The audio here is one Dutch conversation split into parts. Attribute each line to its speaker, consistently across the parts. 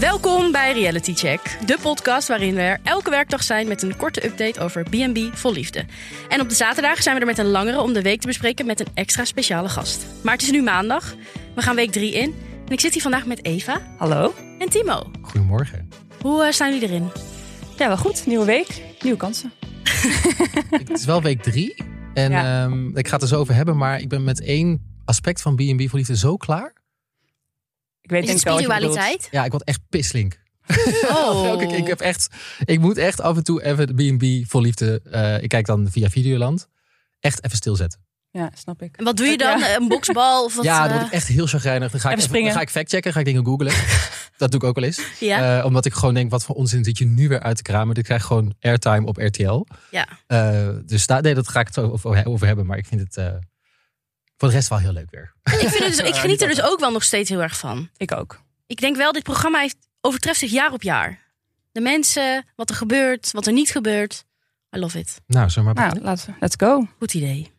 Speaker 1: Welkom bij Reality Check, de podcast waarin we er elke werkdag zijn met een korte update over B&B vol liefde. En op de zaterdag zijn we er met een langere om de week te bespreken met een extra speciale gast. Maar het is nu maandag, we gaan week 3 in en ik zit hier vandaag met Eva
Speaker 2: Hallo.
Speaker 1: en Timo.
Speaker 3: Goedemorgen.
Speaker 1: Hoe eh, staan jullie erin?
Speaker 2: Ja, wel goed. Nieuwe week, nieuwe kansen.
Speaker 3: het is wel week drie. En
Speaker 2: Ja.
Speaker 3: ehm, ik ga het er zo over hebben. Maar ik ben met één aspect van B&B voor liefde zo klaar.
Speaker 2: Ik weet
Speaker 1: Is het
Speaker 2: denk ik wel wat je
Speaker 1: spiritualiteit?
Speaker 3: Ja, ik word echt pisslink.
Speaker 1: Oh,
Speaker 3: Ik, ik, heb echt, ik moet echt af en toe even B&B voor liefde... eh, ik kijk dan via Videoland. Echt even stilzetten.
Speaker 2: bedoelt. Ja, snap ik.
Speaker 1: en wat doe je dan? Een boksbal? Of wat,
Speaker 3: ja, dan
Speaker 1: eh,
Speaker 3: word ik echt heel chagrijnig. Dan ga
Speaker 2: Even
Speaker 3: ik, even,
Speaker 2: springen.
Speaker 3: dan ga ik factchecken, ga ik dingen googlen. dat doe ik ook wel eens.
Speaker 1: ja?
Speaker 3: Eh, omdat ik gewoon denk, wat voor onzin zit je nu weer uit te kramen. Ik krijg gewoon airtime op RTL.
Speaker 1: Ja.
Speaker 3: Eh, dus daar, nee, dat ga ik het over, over hebben. Maar ik vind het eh, voor de rest wel heel leuk weer.
Speaker 1: Ik, vind het dus, ik geniet er dus ook wel nog steeds heel erg van.
Speaker 2: Ik ook.
Speaker 1: Ik denk wel, dit programma heeft, overtreft zich jaar op jaar. De mensen, wat er gebeurt, wat er niet gebeurt. I love it.
Speaker 3: Nou, zullen we maar
Speaker 2: Nou, laten we. Let's go.
Speaker 1: Goed idee.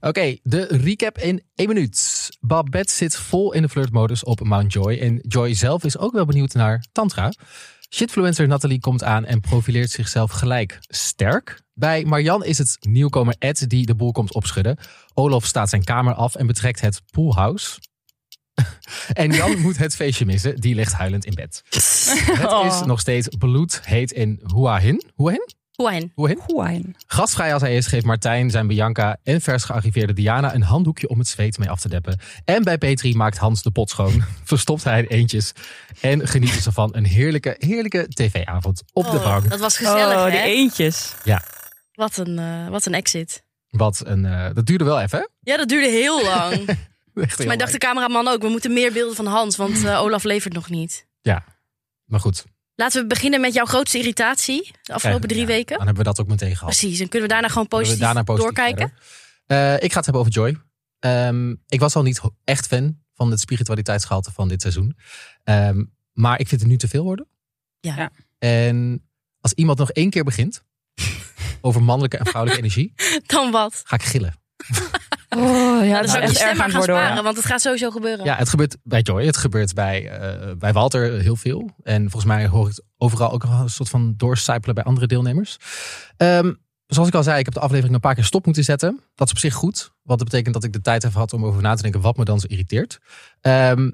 Speaker 3: Oké, de recap in één minuut. Babette zit vol in de flirtmodus op Mount Joy. En Joy zelf is ook wel benieuwd naar Tantra. Shitfluencer Nathalie komt aan en profileert zichzelf gelijk sterk. Bij Marian is het nieuwkomer Ed die de boel komt opschudden. Olaf staat zijn kamer af en betrekt het poolhouse. en Jan moet het feestje missen. Die ligt huilend in bed. Het is
Speaker 2: Oh.
Speaker 3: nog steeds bloedheet in Hua Hin. Hua Hin?
Speaker 1: Juan.
Speaker 3: Hua Hin?
Speaker 2: Wine.
Speaker 3: Gastvrij als hij is, geeft Martijn zijn Bianca en vers gearriveerde Diana een handdoekje om het zweet mee af te deppen. En bij Petri maakt Hans de pot schoon, verstopt hij in eentjes en genieten ze van een heerlijke, heerlijke tv-avond op de
Speaker 1: Oh,
Speaker 3: bank.
Speaker 1: dat was gezellig,
Speaker 2: Oh, die
Speaker 1: hè?
Speaker 2: eentjes.
Speaker 1: Wat een, eh, wat een exit.
Speaker 3: Wat een, eh, dat duurde wel even, hè?
Speaker 1: Ja, dat duurde heel lang. Volgens
Speaker 3: Echt heel
Speaker 1: mij dacht de
Speaker 3: lang.
Speaker 1: cameraman ook, we moeten meer beelden van Hans, want eh, Olaf levert nog niet.
Speaker 3: Maar goed.
Speaker 1: Laten we beginnen met jouw grootste irritatie de afgelopen drie
Speaker 3: ja,
Speaker 1: weken.
Speaker 3: Dan hebben we dat ook meteen gehad.
Speaker 1: Precies, en kunnen we daarna gewoon
Speaker 3: Kunnen
Speaker 1: positief,
Speaker 3: we daarna positief
Speaker 1: doorkijken?
Speaker 3: verder. Eh, ik ga het hebben over Joy. Ehm, ik was al niet ho- echt fan van het spiritualiteitsgehalte van dit seizoen. Ehm, maar ik vind het nu te veel worden.
Speaker 1: Ja.
Speaker 2: Ja.
Speaker 3: En als iemand nog één keer begint over mannelijke en vrouwelijke energie,
Speaker 1: Dan wat? Nou,
Speaker 3: ga ik gillen.
Speaker 2: Oh,
Speaker 1: Dan
Speaker 2: ja, dat is
Speaker 1: zou ik je
Speaker 2: echt
Speaker 1: stem
Speaker 2: erg
Speaker 1: maar
Speaker 2: aan het
Speaker 1: gaan
Speaker 2: worden.
Speaker 1: sparen,
Speaker 2: hoor.
Speaker 1: want het gaat sowieso gebeuren.
Speaker 3: Ja, het gebeurt bij Joy, het gebeurt bij, eh, bij Walter heel veel. En volgens mij hoor ik het overal ook wel een soort van doorcijpelen bij andere deelnemers. Ehm, zoals ik al zei, ik heb de aflevering een paar keer stop moeten zetten. Dat is op zich goed, want dat betekent dat ik de tijd heb gehad om over na te denken wat me dan zo irriteert. Ehm,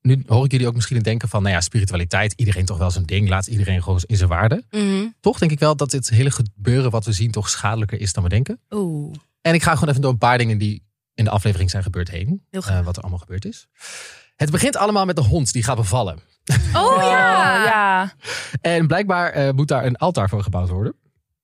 Speaker 3: nu hoor ik jullie ook misschien denken van, nou ja, spiritualiteit, iedereen toch wel zijn ding, laat iedereen gewoon in zijn waarde.
Speaker 1: Mhm.
Speaker 3: Toch denk ik wel dat dit hele gebeuren wat we zien toch schadelijker is dan we denken.
Speaker 1: Oeh,
Speaker 3: En ik ga gewoon even door een paar dingen die in de aflevering zijn gebeurd heen.
Speaker 1: heel graag.
Speaker 3: Eh, wat er allemaal gebeurd is. Het begint allemaal met de hond die gaat bevallen.
Speaker 1: oh ja!
Speaker 2: Oh, ja.
Speaker 3: En blijkbaar eh, moet daar een altaar voor gebouwd worden.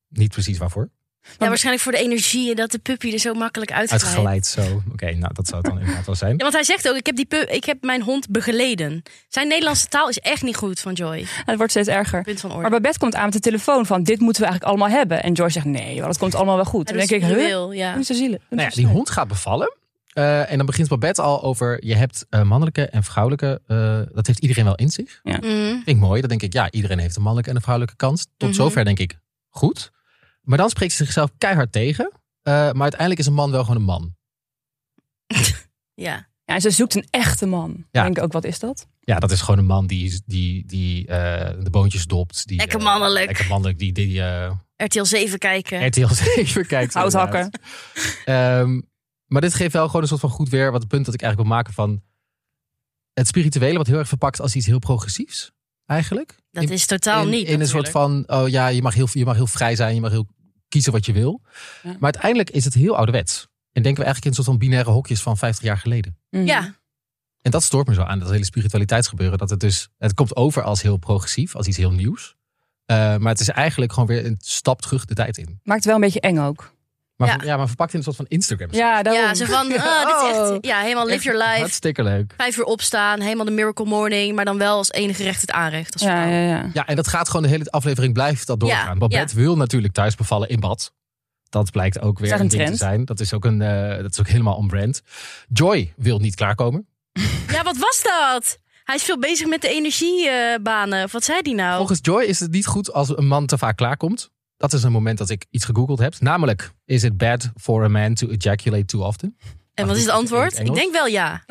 Speaker 3: Niet precies waarvoor.
Speaker 1: Ja, waarschijnlijk voor de energie en dat de puppy er zo makkelijk uitglijdt.
Speaker 3: Uitgeleid zo. Oké, nou dat zou het dan inderdaad wel zijn.
Speaker 1: Ja, want hij zegt ook, ik heb, die pu- ik heb mijn hond begeleden. Zijn Nederlandse taal is echt niet goed van Joy.
Speaker 2: Het wordt steeds erger.
Speaker 1: Punt van
Speaker 2: Maar
Speaker 1: orde.
Speaker 2: Babette komt aan met de telefoon van dit moeten we eigenlijk allemaal hebben. En George zegt nee, joh, dat komt allemaal wel goed.
Speaker 1: Ja, dus dat
Speaker 2: Dan denk
Speaker 1: is
Speaker 2: ik, huh?
Speaker 1: ritueel, ja.
Speaker 2: Doe zo zielig. Doe
Speaker 3: Nou ja,
Speaker 2: zo
Speaker 3: die
Speaker 2: snel.
Speaker 3: hond gaat bevallen. Eh, en dan begint Babette al over, je hebt eh, mannelijke en vrouwelijke, eh, dat heeft iedereen wel in zich.
Speaker 1: Mm.
Speaker 3: Vind ik mooi. Dan denk ik, ja, iedereen heeft een mannelijke en een vrouwelijke kans. Tot
Speaker 1: Mhm.
Speaker 3: zover denk ik, goed. Maar dan spreekt ze zichzelf keihard tegen. Eh, maar uiteindelijk is een man wel gewoon een man.
Speaker 1: Ja.
Speaker 2: Ja, en ze zoekt een echte man.
Speaker 3: Ja.
Speaker 2: Denk ik ook, wat is dat?
Speaker 3: Ja, dat is gewoon een man die, die, die eh, de boontjes dopt. Die,
Speaker 1: Lekker
Speaker 3: eh,
Speaker 1: mannelijk.
Speaker 3: lekker mannelijk, die, die eh,
Speaker 1: RTL 7 kijken.
Speaker 3: RTL 7 kijkt.
Speaker 2: Houthakken.
Speaker 3: inderdaad. Ehm, maar dit geeft wel gewoon een soort van goed weer wat het punt dat ik eigenlijk wil maken van het spirituele, wat heel erg verpakt als iets heel progressiefs, eigenlijk.
Speaker 1: Dat
Speaker 3: In-
Speaker 1: is totaal
Speaker 3: in,
Speaker 1: niet.
Speaker 3: In een soort
Speaker 1: natuurlijk.
Speaker 3: van, oh ja, je mag heel, je mag heel vrij zijn, je mag heel kiezen wat je wil.
Speaker 2: Ja.
Speaker 3: Maar uiteindelijk is het heel ouderwets. En denken we eigenlijk in een soort van binaire hokjes van 50 jaar geleden.
Speaker 2: Mm.
Speaker 1: Ja,
Speaker 3: En dat stoort me zo aan, dat hele spiritualiteitsgebeuren. Dat het dus, het komt over als heel progressief, als iets heel nieuws. Eh, maar het is eigenlijk gewoon weer een stap terug de tijd in.
Speaker 2: Maakt het wel een beetje eng ook.
Speaker 3: Maar,
Speaker 1: Ja.
Speaker 3: ver- ja, maar verpakt in een soort van Instagram.
Speaker 2: Ja, daarom.
Speaker 3: Nou.
Speaker 1: ja, zo van, ah, dit is
Speaker 3: Oh.
Speaker 1: echt, ja, helemaal live your life.
Speaker 3: Hartstikke leuk.
Speaker 1: Vijf uur opstaan, helemaal de miracle morning. Maar dan wel als enige recht het aanrecht. Als
Speaker 2: ja,
Speaker 1: vrouw.
Speaker 2: ja, ja.
Speaker 3: Ja, en dat gaat gewoon de hele aflevering blijft dat doorgaan.
Speaker 1: Ja,
Speaker 3: Babette wil natuurlijk thuis bevallen in bad. Dat blijkt ook weer
Speaker 2: dat
Speaker 3: een,
Speaker 2: een
Speaker 3: ding
Speaker 2: trend?
Speaker 3: te zijn. Dat is ook, een, eh, dat is ook helemaal on-brand. Joy wil niet klaarkomen.
Speaker 1: Ja, wat was dat? Hij is veel bezig met de energiebanen. Of wat zei die nou?
Speaker 3: Volgens Joy is het niet goed als een man te vaak klaarkomt. Dat is een moment dat ik iets gegoogeld heb. Namelijk, is it bad for a man to ejaculate too often?
Speaker 1: en wat is het antwoord?
Speaker 3: In
Speaker 1: Ik
Speaker 3: het Engels.
Speaker 1: denk wel ja.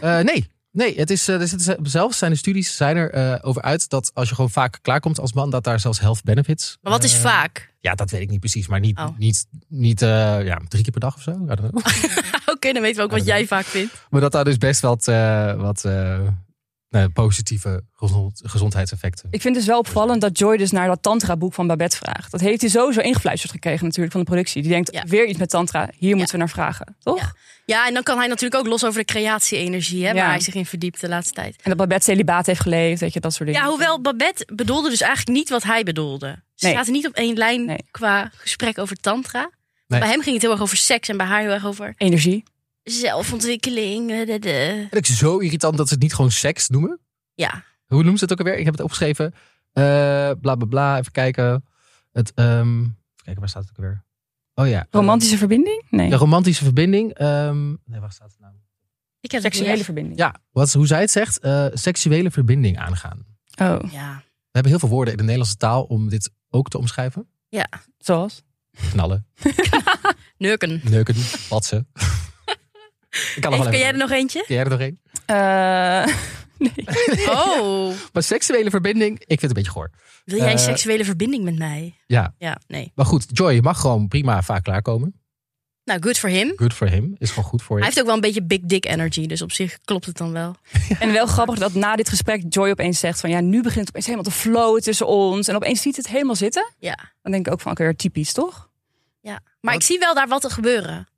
Speaker 3: Eh, nee. Nee, het is, eh, er zitten ze- zelfs zijn de studies zijn er eh, over uit dat als je gewoon vaak klaarkomt als man, dat daar zelfs health benefits.
Speaker 1: Maar wat is
Speaker 3: eh,
Speaker 1: vaak?
Speaker 3: Ja, dat weet ik niet precies, maar niet,
Speaker 1: Oh.
Speaker 3: niet, niet eh, ja, drie keer per dag of zo. I don't know.
Speaker 1: Oké, dan weten we ook wat
Speaker 3: Ja, dat
Speaker 1: jij vaak vindt.
Speaker 3: maar dat daar dus best wat, eh, wat eh, eh, positieve gezond, gezondheidseffecten.
Speaker 2: Ik vind het dus wel opvallend dat Joy dus naar dat tantra-boek van Babette vraagt. Dat heeft hij sowieso ingefluisterd gekregen natuurlijk van de productie. Die denkt,
Speaker 1: Ja.
Speaker 2: weer iets met tantra, hier moeten we naar vragen. Toch?
Speaker 1: Ja. Ja, en dan kan hij natuurlijk ook los over de creatie-energie, hè,
Speaker 2: Ja.
Speaker 1: waar hij zich in verdiept de laatste tijd.
Speaker 2: En dat Babette celibaat heeft geleefd, weet je, dat soort dingen.
Speaker 1: Ja, hoewel Babette bedoelde dus eigenlijk niet wat hij bedoelde. Ze
Speaker 2: Nee.
Speaker 1: zaten niet op één lijn
Speaker 2: Nee.
Speaker 1: qua gesprek over tantra.
Speaker 3: Nee.
Speaker 1: Bij hem ging het heel erg over seks en bij haar heel erg over
Speaker 2: Energie.
Speaker 1: zelfontwikkeling. eh, de, de.
Speaker 3: Vind ik zo irritant dat ze het niet gewoon seks noemen.
Speaker 1: Ja,
Speaker 3: hoe noemt ze het ook alweer? Ik heb het opgeschreven. Eh, bla bla bla. Even kijken. Het, ehm, even kijken, waar staat het ook alweer? Oh ja.
Speaker 2: Romantische verbinding? Nee.
Speaker 3: De romantische verbinding. ehm, nee, waar staat het nou?
Speaker 1: ik heb het
Speaker 2: Seksuele
Speaker 1: niet
Speaker 2: verbinding.
Speaker 3: Ja, wat, hoe zij het zegt, eh, seksuele verbinding aangaan.
Speaker 2: Oh,
Speaker 1: echt. Ja.
Speaker 3: We hebben heel veel woorden in de Nederlandse taal om dit ook te omschrijven.
Speaker 2: zoals?
Speaker 3: Knallen,
Speaker 1: Neuken.
Speaker 3: neuken, patsen. Ik kan nog wel
Speaker 1: Even,
Speaker 3: even.
Speaker 1: kun jij er nog eentje?
Speaker 3: Kun jij er nog één?
Speaker 2: Eh, nee.
Speaker 1: Oh,
Speaker 3: Maar seksuele verbinding, ik vind het een beetje goor.
Speaker 1: wil jij een
Speaker 3: Eh,
Speaker 1: seksuele verbinding met mij?
Speaker 3: ja.
Speaker 1: Ja, nee.
Speaker 3: Maar goed, Joy mag gewoon prima vaak klaarkomen.
Speaker 1: Nou, good for him.
Speaker 3: Good for him. Is gewoon goed voor
Speaker 1: Hij
Speaker 3: je.
Speaker 1: heeft ook wel een beetje big dick energy, dus op zich klopt het dan wel.
Speaker 2: En wel grappig dat na dit gesprek Joy opeens zegt van ja, nu begint het opeens helemaal te flowen tussen ons. En opeens ziet het helemaal zitten.
Speaker 1: Ja.
Speaker 2: Dan denk ik ook van oké, typisch toch?
Speaker 1: Ja. Maar ik zie wel daar wat er gebeuren.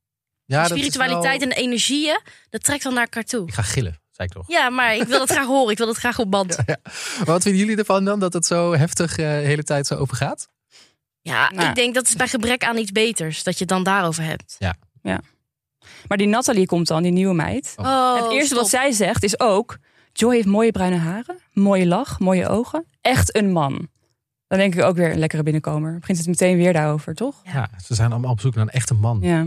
Speaker 3: Ja, dat is
Speaker 1: Spiritualiteit
Speaker 3: wel-
Speaker 1: en energieën, dat trekt dan naar elkaar toe.
Speaker 3: Ik ga gillen, zei ik toch?
Speaker 1: Ja, maar ik wil dat graag horen. Ik wil dat graag op band.
Speaker 3: Maar Wat vinden jullie ervan dan dat het zo heftig eh, de hele tijd zo over gaat?
Speaker 1: Ja,
Speaker 2: Nou.
Speaker 1: ik denk dat het bij gebrek aan iets beters dat je het dan daarover hebt.
Speaker 2: Maar die Nathalie komt dan, die nieuwe meid.
Speaker 3: Oh.
Speaker 2: het eerste wat zij zegt is ook: Joy heeft mooie bruine haren, mooie lach, mooie ogen. Echt een man. Dan denk ik ook weer een lekkere binnenkomer. Begint het meteen weer daarover, toch?
Speaker 1: Ja.
Speaker 3: Ja, ze zijn allemaal op zoek naar een echte man.
Speaker 2: Ja.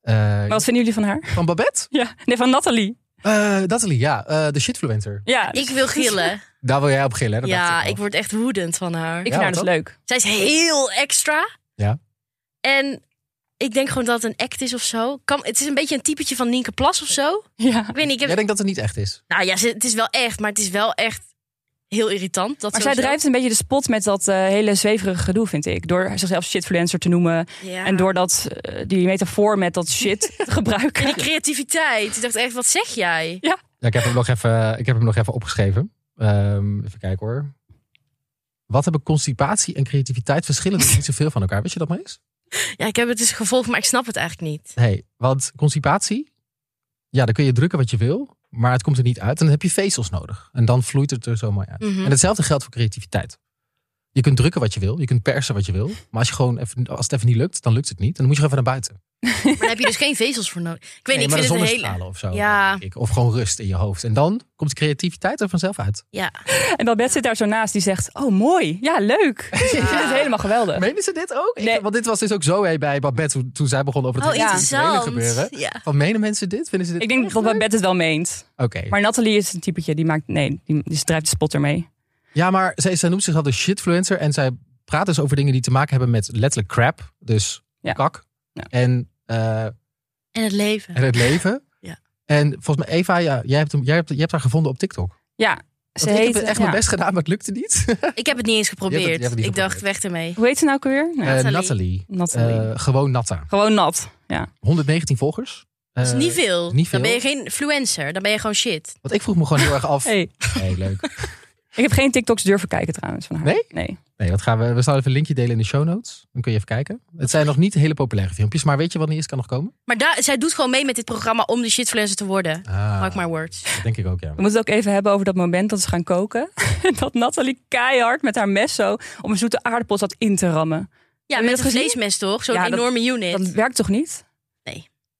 Speaker 2: Maar
Speaker 3: Eh,
Speaker 2: wat vinden jullie van haar?
Speaker 3: Van Babette?
Speaker 2: Ja. Nee, van Nathalie.
Speaker 3: Eh Natalie, ja, eh, de shitfluencer.
Speaker 2: Ja.
Speaker 1: Ik wil gillen.
Speaker 3: Daar wil jij op gillen, hè? Dat
Speaker 1: ja,
Speaker 3: dacht
Speaker 1: ik
Speaker 3: ik, al.
Speaker 1: word echt woedend van haar.
Speaker 2: Ik
Speaker 3: Ja,
Speaker 2: vind haar
Speaker 3: wat
Speaker 2: dus
Speaker 3: dan?
Speaker 2: leuk.
Speaker 1: Zij is heel extra.
Speaker 3: Ja.
Speaker 1: En ik denk gewoon dat het een act is of zo. Kan, het is een beetje een typetje van Nienke Plas of zo.
Speaker 2: Ja.
Speaker 1: Ik weet niet. Ik
Speaker 3: Jij
Speaker 1: heb,
Speaker 3: denkt dat het niet echt is?
Speaker 1: nou ja, ze- het is wel echt, maar het is wel echt heel irritant. Dat
Speaker 2: Maar zij
Speaker 1: sowieso.
Speaker 2: drijft een beetje de spot met dat eh, hele zweverige gedoe, vind ik. Door zichzelf shitfluencer te noemen.
Speaker 1: Ja.
Speaker 2: En door dat, eh, die metafoor met dat shit te gebruiken.
Speaker 1: En die creativiteit. Ik dacht echt, wat zeg jij?
Speaker 3: Ja, ik, heb hem nog even, ik heb hem nog even opgeschreven. Ehm, even kijken hoor. Wat hebben constipatie en creativiteit verschillen dus niet zoveel van elkaar? Weet je dat maar eens?
Speaker 1: Ja, ik heb het dus gevolgd, maar ik snap het eigenlijk niet.
Speaker 3: Hey, want constipatie, ja, dan kun je drukken wat je wil, maar het komt er niet uit. En dan heb je vezels nodig. En dan vloeit het er zo mooi uit.
Speaker 1: Mhm.
Speaker 3: En hetzelfde geldt voor creativiteit. Je kunt drukken wat je wil, je kunt persen wat je wil. Maar als, je gewoon even, als het even niet lukt, dan lukt het niet. Dan moet je gewoon even naar buiten.
Speaker 1: Maar daar heb je dus geen vezels voor nodig. Ik weet niet,
Speaker 3: maar
Speaker 1: ik
Speaker 3: de
Speaker 1: vind het een hele...
Speaker 3: zonnestralen of zo.
Speaker 1: Ja.
Speaker 3: denk ik. Of gewoon rust in je hoofd. En dan komt de creativiteit er vanzelf uit.
Speaker 1: Ja.
Speaker 2: En Babette zit daar zo naast die zegt: Oh, mooi. Ja, leuk. Ik vind het helemaal
Speaker 1: Eh.
Speaker 2: geweldig.
Speaker 3: Menen ze dit ook? Ik-
Speaker 2: Nee.
Speaker 3: want dit was dus ook zo hey, bij Babette toen, toen zij begon over het
Speaker 1: Oh,
Speaker 3: hele
Speaker 1: interessant.
Speaker 3: gebeuren.
Speaker 1: Ja.
Speaker 3: Van menen mensen dit? Vinden ze dit?
Speaker 2: Ik denk dat Babette het wel meent.
Speaker 3: Oké.
Speaker 2: Maar Nathalie is een typetje die maakt. Nee, die, die drijft de spot ermee.
Speaker 3: Ja, maar zij, zij noemt zichzelf de shitfluencer. En zij praat dus over dingen die te maken hebben met letterlijk crap. Dus
Speaker 2: Ja.
Speaker 3: kak.
Speaker 2: Ja.
Speaker 3: En, eh,
Speaker 1: En het leven.
Speaker 3: en het leven.
Speaker 1: Ja.
Speaker 3: En volgens mij, Eva, ja, jij, hebt hem, jij, hebt, jij hebt haar gevonden op TikTok.
Speaker 2: Ja, ze
Speaker 3: Want ik
Speaker 2: heet.
Speaker 3: heb het echt
Speaker 2: ja.
Speaker 3: mijn best gedaan, maar het lukte niet. Eh,
Speaker 1: Ik heb het niet eens
Speaker 3: Je hebt
Speaker 1: geprobeerd.
Speaker 3: het- je hebt het niet
Speaker 1: ik dacht,
Speaker 3: geprobeerd.
Speaker 1: weg ermee.
Speaker 2: Hoe heet ze nou ook weer?
Speaker 3: Eh,
Speaker 1: Nathalie.
Speaker 3: Nathalie.
Speaker 2: Nathalie.
Speaker 3: Eh, gewoon Natta.
Speaker 2: Gewoon nat. Ja.
Speaker 3: 119 volgers.
Speaker 1: Dat is
Speaker 3: Eh,
Speaker 1: niet veel.
Speaker 3: niet veel.
Speaker 1: Dan ben je geen influencer. Dan ben je gewoon shit.
Speaker 3: Want ik vroeg me gewoon heel erg af.
Speaker 2: Hey,
Speaker 3: Nee, leuk.
Speaker 2: ik heb geen TikToks durven kijken trouwens van haar.
Speaker 3: Nee?
Speaker 2: Nee.
Speaker 3: Nee, dat gaan we. We zullen even een linkje delen in de show notes. Dan kun je even kijken. Het zijn nog niet hele populaire filmpjes, maar weet je wat niet is kan nog komen?
Speaker 1: Maar daar, zij doet gewoon mee met dit programma om de shitfluencer te worden.
Speaker 3: Ah,
Speaker 1: Mark my words.
Speaker 3: dat denk ik ook, ja.
Speaker 2: We moeten het ook even hebben over dat moment dat ze gaan koken. En dat Nathalie keihard met haar mes zo om een zoete aardappel zat in te rammen.
Speaker 1: Ja,
Speaker 2: je
Speaker 1: met
Speaker 2: dat
Speaker 1: een
Speaker 2: gezien?
Speaker 1: vleesmes toch? Zo'n
Speaker 2: Ja, dat-
Speaker 1: enorme unit.
Speaker 2: Dat werkt toch niet?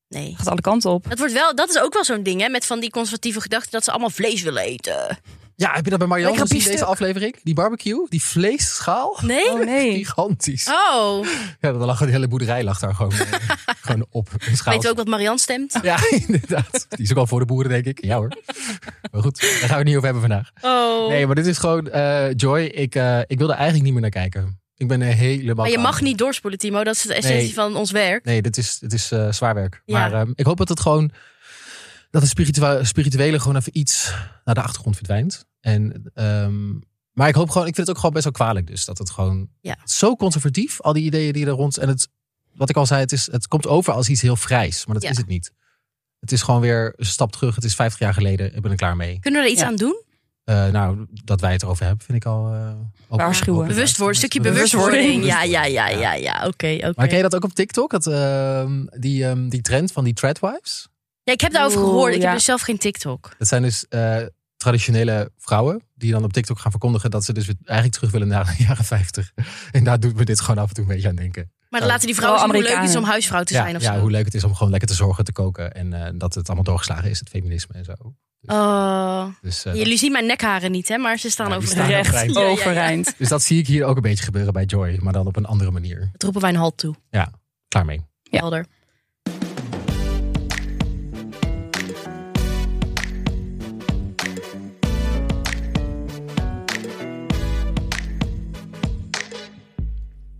Speaker 1: Nee.
Speaker 2: Gaat alle kanten op.
Speaker 1: Dat, wordt wel, dat is ook wel zo'n ding, hè? Met van die conservatieve gedachten dat ze allemaal vlees willen eten.
Speaker 3: Ja, heb je dat bij Marianne
Speaker 2: Lekkere
Speaker 3: gezien, deze
Speaker 2: biefstuk.
Speaker 3: aflevering? Die barbecue, die vleesschaal?
Speaker 1: Nee?
Speaker 2: Oh nee.
Speaker 3: Gigantisch.
Speaker 1: Oh,
Speaker 3: Ja, dan lag de hele boerderij lag daar gewoon, eh, gewoon op. Een schaal.
Speaker 1: weet je ook wat Marianne stemt?
Speaker 3: Ja, inderdaad. Die is ook al voor de boeren, denk ik. Ja hoor. Maar goed, daar gaan we het niet over hebben vandaag.
Speaker 1: Oh.
Speaker 3: Nee, maar dit is gewoon... eh, Joy, ik, eh, ik wil er eigenlijk niet meer naar kijken. Ik ben er helemaal...
Speaker 1: maar je
Speaker 3: klaar
Speaker 1: mag niet doorspoelen, Timo. Dat is de essentie
Speaker 3: Nee.
Speaker 1: van ons werk.
Speaker 3: Nee, dit is, dit is eh, zwaar werk.
Speaker 1: Ja.
Speaker 3: Maar ehm, ik hoop dat het gewoon. dat het spiritua- spirituele gewoon even iets naar de achtergrond verdwijnt. En, ehm, maar ik hoop gewoon. Ik vind het ook gewoon best wel kwalijk. Dus dat het gewoon.
Speaker 1: Ja.
Speaker 3: Zo conservatief, al die ideeën die er rond. En het, wat ik al zei, het, is, het komt over als iets heel vrijs. Maar dat
Speaker 1: Ja.
Speaker 3: is het niet. Het is gewoon weer een stap terug. Het is 50 jaar geleden. Ik ben er klaar mee.
Speaker 1: Kunnen we er iets
Speaker 2: Ja.
Speaker 1: aan doen?
Speaker 3: Eh, nou, dat wij het erover hebben, vind ik al. eh, ook-
Speaker 2: Waarschuwen.
Speaker 3: ook-
Speaker 1: Bewust worden, stukje
Speaker 2: Bewustwording.
Speaker 1: bewustwording. Ja, ja, ja, ja, ja. Oké, oké.
Speaker 3: Maar ken je dat ook op TikTok? Dat, ehm, die, ehm, die trend van die threadwives?
Speaker 1: Ja, ik heb daarover
Speaker 2: Oeh,
Speaker 1: gehoord. Ik heb
Speaker 2: ja.
Speaker 1: dus zelf geen TikTok.
Speaker 3: Dat zijn dus eh, traditionele vrouwen die dan op TikTok gaan verkondigen dat ze dus weer eigenlijk terug willen naar de jaren 50. En daar doet me dit gewoon af en toe een beetje aan denken.
Speaker 1: Maar dan
Speaker 3: Oh.
Speaker 1: laten die vrouwen zien
Speaker 2: Vooral
Speaker 1: hoe leuk het is om
Speaker 2: Amerikanen.
Speaker 1: huisvrouw te
Speaker 3: Ja,
Speaker 1: zijn of
Speaker 3: ja,
Speaker 1: zo.
Speaker 3: hoe leuk het is om gewoon lekker te zorgen, te koken en eh, dat het allemaal doorgeslagen is, het feminisme en zo.
Speaker 1: Oh.
Speaker 3: Dus, eh, dat-
Speaker 1: Jullie zien mijn nekharen niet, hè? Maar ze staan
Speaker 3: Ja, die
Speaker 1: over
Speaker 3: staan
Speaker 1: overeind.
Speaker 3: overeind.
Speaker 2: Recht
Speaker 1: Ja, ja, ja.
Speaker 2: overeind.
Speaker 3: dus dat zie ik hier ook een beetje gebeuren bij Joy, maar dan op een andere manier.
Speaker 1: Dat roepen wij een halt toe.
Speaker 3: Klaar mee.
Speaker 2: Ja.
Speaker 1: Helder.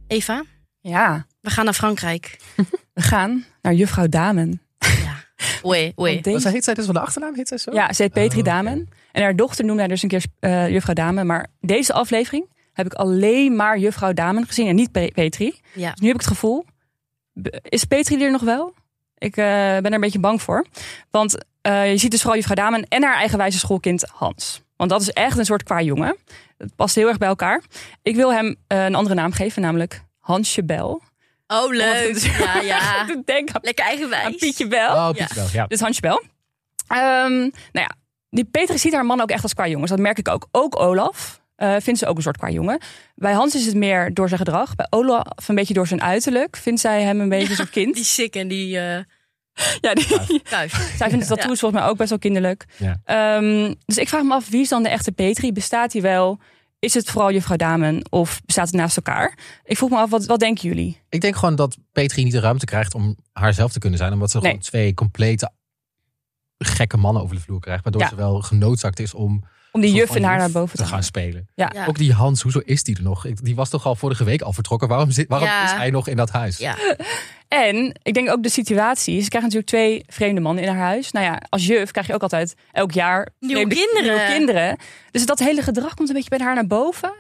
Speaker 1: Eva,
Speaker 2: Ja,
Speaker 1: we gaan naar Frankrijk.
Speaker 2: we gaan naar juffrouw Damen.
Speaker 1: Oei, oei.
Speaker 2: Want deze-
Speaker 3: Wat heet zij dus van de achternaam? Heet zij zo?
Speaker 2: Ja, ze heet Petri
Speaker 3: Oh, oké.
Speaker 2: Damen. En haar dochter noemde haar dus een keer eh, juffrouw Damen. Maar deze aflevering heb ik alleen maar juffrouw Damen gezien en niet Pe- Petri.
Speaker 1: Ja.
Speaker 2: Dus nu heb ik het gevoel, b- is Petri er nog wel? Ik eh, ben er een beetje bang voor. Want eh, je ziet dus vooral juffrouw Damen en haar eigenwijze schoolkind Hans. Want dat is echt een soort qua jongen. Het past heel erg bij elkaar. Ik wil hem eh, een andere naam geven, namelijk Hansje Bel.
Speaker 1: Oh, leuk.
Speaker 2: Omdat- dus
Speaker 1: Ja, ja.
Speaker 2: Denk aan,
Speaker 1: Lekker
Speaker 2: aan
Speaker 1: eigenwijs.
Speaker 2: Pietje Bel.
Speaker 3: Oh,
Speaker 1: Ja.
Speaker 3: Piet wel. Ja.
Speaker 2: Dit handjebel. Ehm nou ja, die Petra ziet haar man ook echt als qua jongens. Dat merk ik ook. Ook Olaf eh, vindt ze ook een soort qua jongen. Bij Hans is het meer door zijn gedrag. Bij Olaf een beetje door zijn uiterlijk. Vindt zij hem een beetje zo'n kind.
Speaker 1: Die sick en die eh
Speaker 2: Ja, die,
Speaker 1: kuif.
Speaker 2: zij vindt de tattoos volgens mij ook best wel kinderlijk.
Speaker 3: Ja.
Speaker 2: Ehm, dus ik vraag me af, wie is dan de echte Petri? Bestaat die wel? Is het vooral juffrouw Damen? Of bestaat het naast elkaar? Ik vroeg me af, wat, wat denken jullie?
Speaker 3: Ik denk gewoon dat Petri niet de ruimte krijgt om haarzelf te kunnen zijn. Omdat ze
Speaker 2: Nee.
Speaker 3: gewoon twee complete gekke mannen over de vloer krijgt. Waardoor
Speaker 2: Ja.
Speaker 3: ze wel genoodzaakt is om
Speaker 2: Om die
Speaker 3: soort
Speaker 2: juf
Speaker 3: van
Speaker 2: en haar naar
Speaker 3: juf
Speaker 2: boven te
Speaker 3: gaan
Speaker 2: gaan.
Speaker 3: spelen.
Speaker 1: Ja.
Speaker 3: Ook die Hans, hoezo is die er nog? Ik- Die was toch al vorige week al vertrokken? Waarom, zit, waarom
Speaker 1: Ja.
Speaker 3: is hij nog in dat huis?
Speaker 1: Ja.
Speaker 2: En ik denk ook de situatie. Ze krijgen natuurlijk twee vreemde mannen in haar huis. Nou ja, als juf krijg je ook altijd elk jaar
Speaker 1: Nieuwe
Speaker 2: vreemde-
Speaker 1: kinderen.
Speaker 2: nieuwe kinderen. Dus dat hele gedrag komt een beetje bij haar naar boven.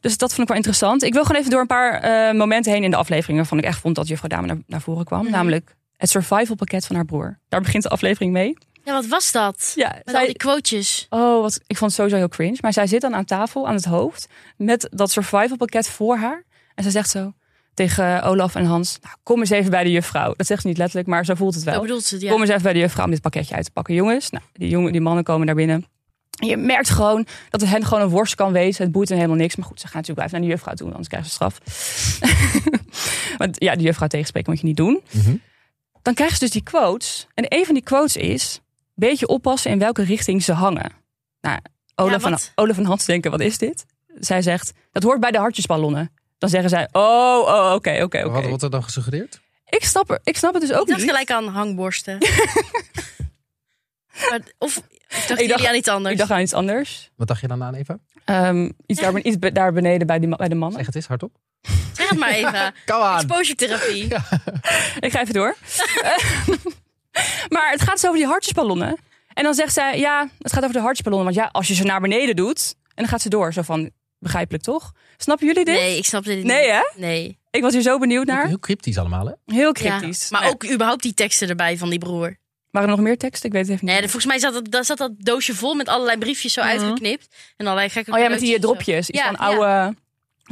Speaker 2: Dus dat vond ik wel interessant. Ik wil gewoon even door een paar eh, momenten heen in de aflevering... waarvan ik echt vond dat juffrouw Dame naar, naar voren kwam.
Speaker 1: Mhm.
Speaker 2: Namelijk het survivalpakket van haar broer. Daar begint de aflevering mee.
Speaker 1: ja, wat was dat?
Speaker 2: Ja,
Speaker 1: Met
Speaker 2: zij-
Speaker 1: al die quotejes.
Speaker 2: Oh, wat, ik vond het sowieso heel cringe. Maar zij zit dan aan tafel, aan het hoofd, met dat survivalpakket voor haar. En ze zegt zo tegen Olaf en Hans, nou, kom eens even bij de juffrouw. Dat zegt ze niet letterlijk, maar zo voelt het
Speaker 1: Zo
Speaker 2: wel.
Speaker 1: bedoelt ze het, Oh, ja.
Speaker 2: Kom eens even bij de juffrouw om dit pakketje uit te pakken. Jongens, nou, die, jongen, die mannen komen daar binnen. En Je merkt gewoon dat het hen gewoon een worst kan wezen. Het boeit hen helemaal niks. Maar goed, ze gaan natuurlijk blijven naar de juffrouw toe, anders krijgen ze straf. Want ja, de juffrouw tegenspreken moet je niet doen.
Speaker 3: Mhm.
Speaker 2: Dan krijgen ze dus die quotes. En een van die quotes is... beetje oppassen in welke richting ze hangen. Nou, Olaf,
Speaker 1: Ja,
Speaker 2: van,
Speaker 1: wat?
Speaker 2: Olaf en Hans denken, wat is dit? Zij zegt, dat hoort bij de hartjesballonnen. Dan zeggen zij, oh, oh, oké, oké,
Speaker 3: Wat
Speaker 2: oké.
Speaker 3: wordt er dan gesuggereerd?
Speaker 2: Ik snap er- Ik snap het dus ook
Speaker 1: ik dacht
Speaker 2: niet.
Speaker 1: gelijk aan hangborsten. maar, of of dachten
Speaker 2: dacht-
Speaker 1: jullie aan iets anders?
Speaker 2: Ik dacht aan iets anders.
Speaker 3: Wat dacht je dan aan, Eva?
Speaker 2: Ehm, iets, daar, iets be- daar beneden bij, die, ma- bij de mannen.
Speaker 3: Zeg het eens hardop.
Speaker 1: Zeg het maar even.
Speaker 3: Kom aan!
Speaker 1: Exposure therapie.
Speaker 3: Ja.
Speaker 2: Ik ga even door. maar het gaat dus over die hartjesballonnen. En dan zegt zij, ja, het gaat over de hartjesballonnen. Want ja, als je ze naar beneden doet... En dan gaat ze door, zo van, begrijpelijk toch? Snappen jullie dit?
Speaker 1: Nee, ik snap dit niet.
Speaker 2: Nee, hè?
Speaker 1: Nee.
Speaker 2: Ik was hier zo benieuwd naar.
Speaker 3: Heel cryptisch allemaal, hè?
Speaker 2: Heel
Speaker 1: Ja.
Speaker 2: cryptisch.
Speaker 1: Maar
Speaker 2: Nou ja,
Speaker 1: ook überhaupt die teksten erbij van die broer.
Speaker 2: Waren er nog meer teksten? Ik weet het even niet.
Speaker 1: Nee, dat- volgens mij zat dat, daar zat dat doosje vol met allerlei briefjes zo
Speaker 2: Mhm.
Speaker 1: uitgeknipt. En allerlei gekke
Speaker 2: oh ja, met die eh,
Speaker 1: kleurtjes en zo.
Speaker 2: dropjes. Iets
Speaker 1: Ja,
Speaker 2: van
Speaker 1: ja.
Speaker 2: oude...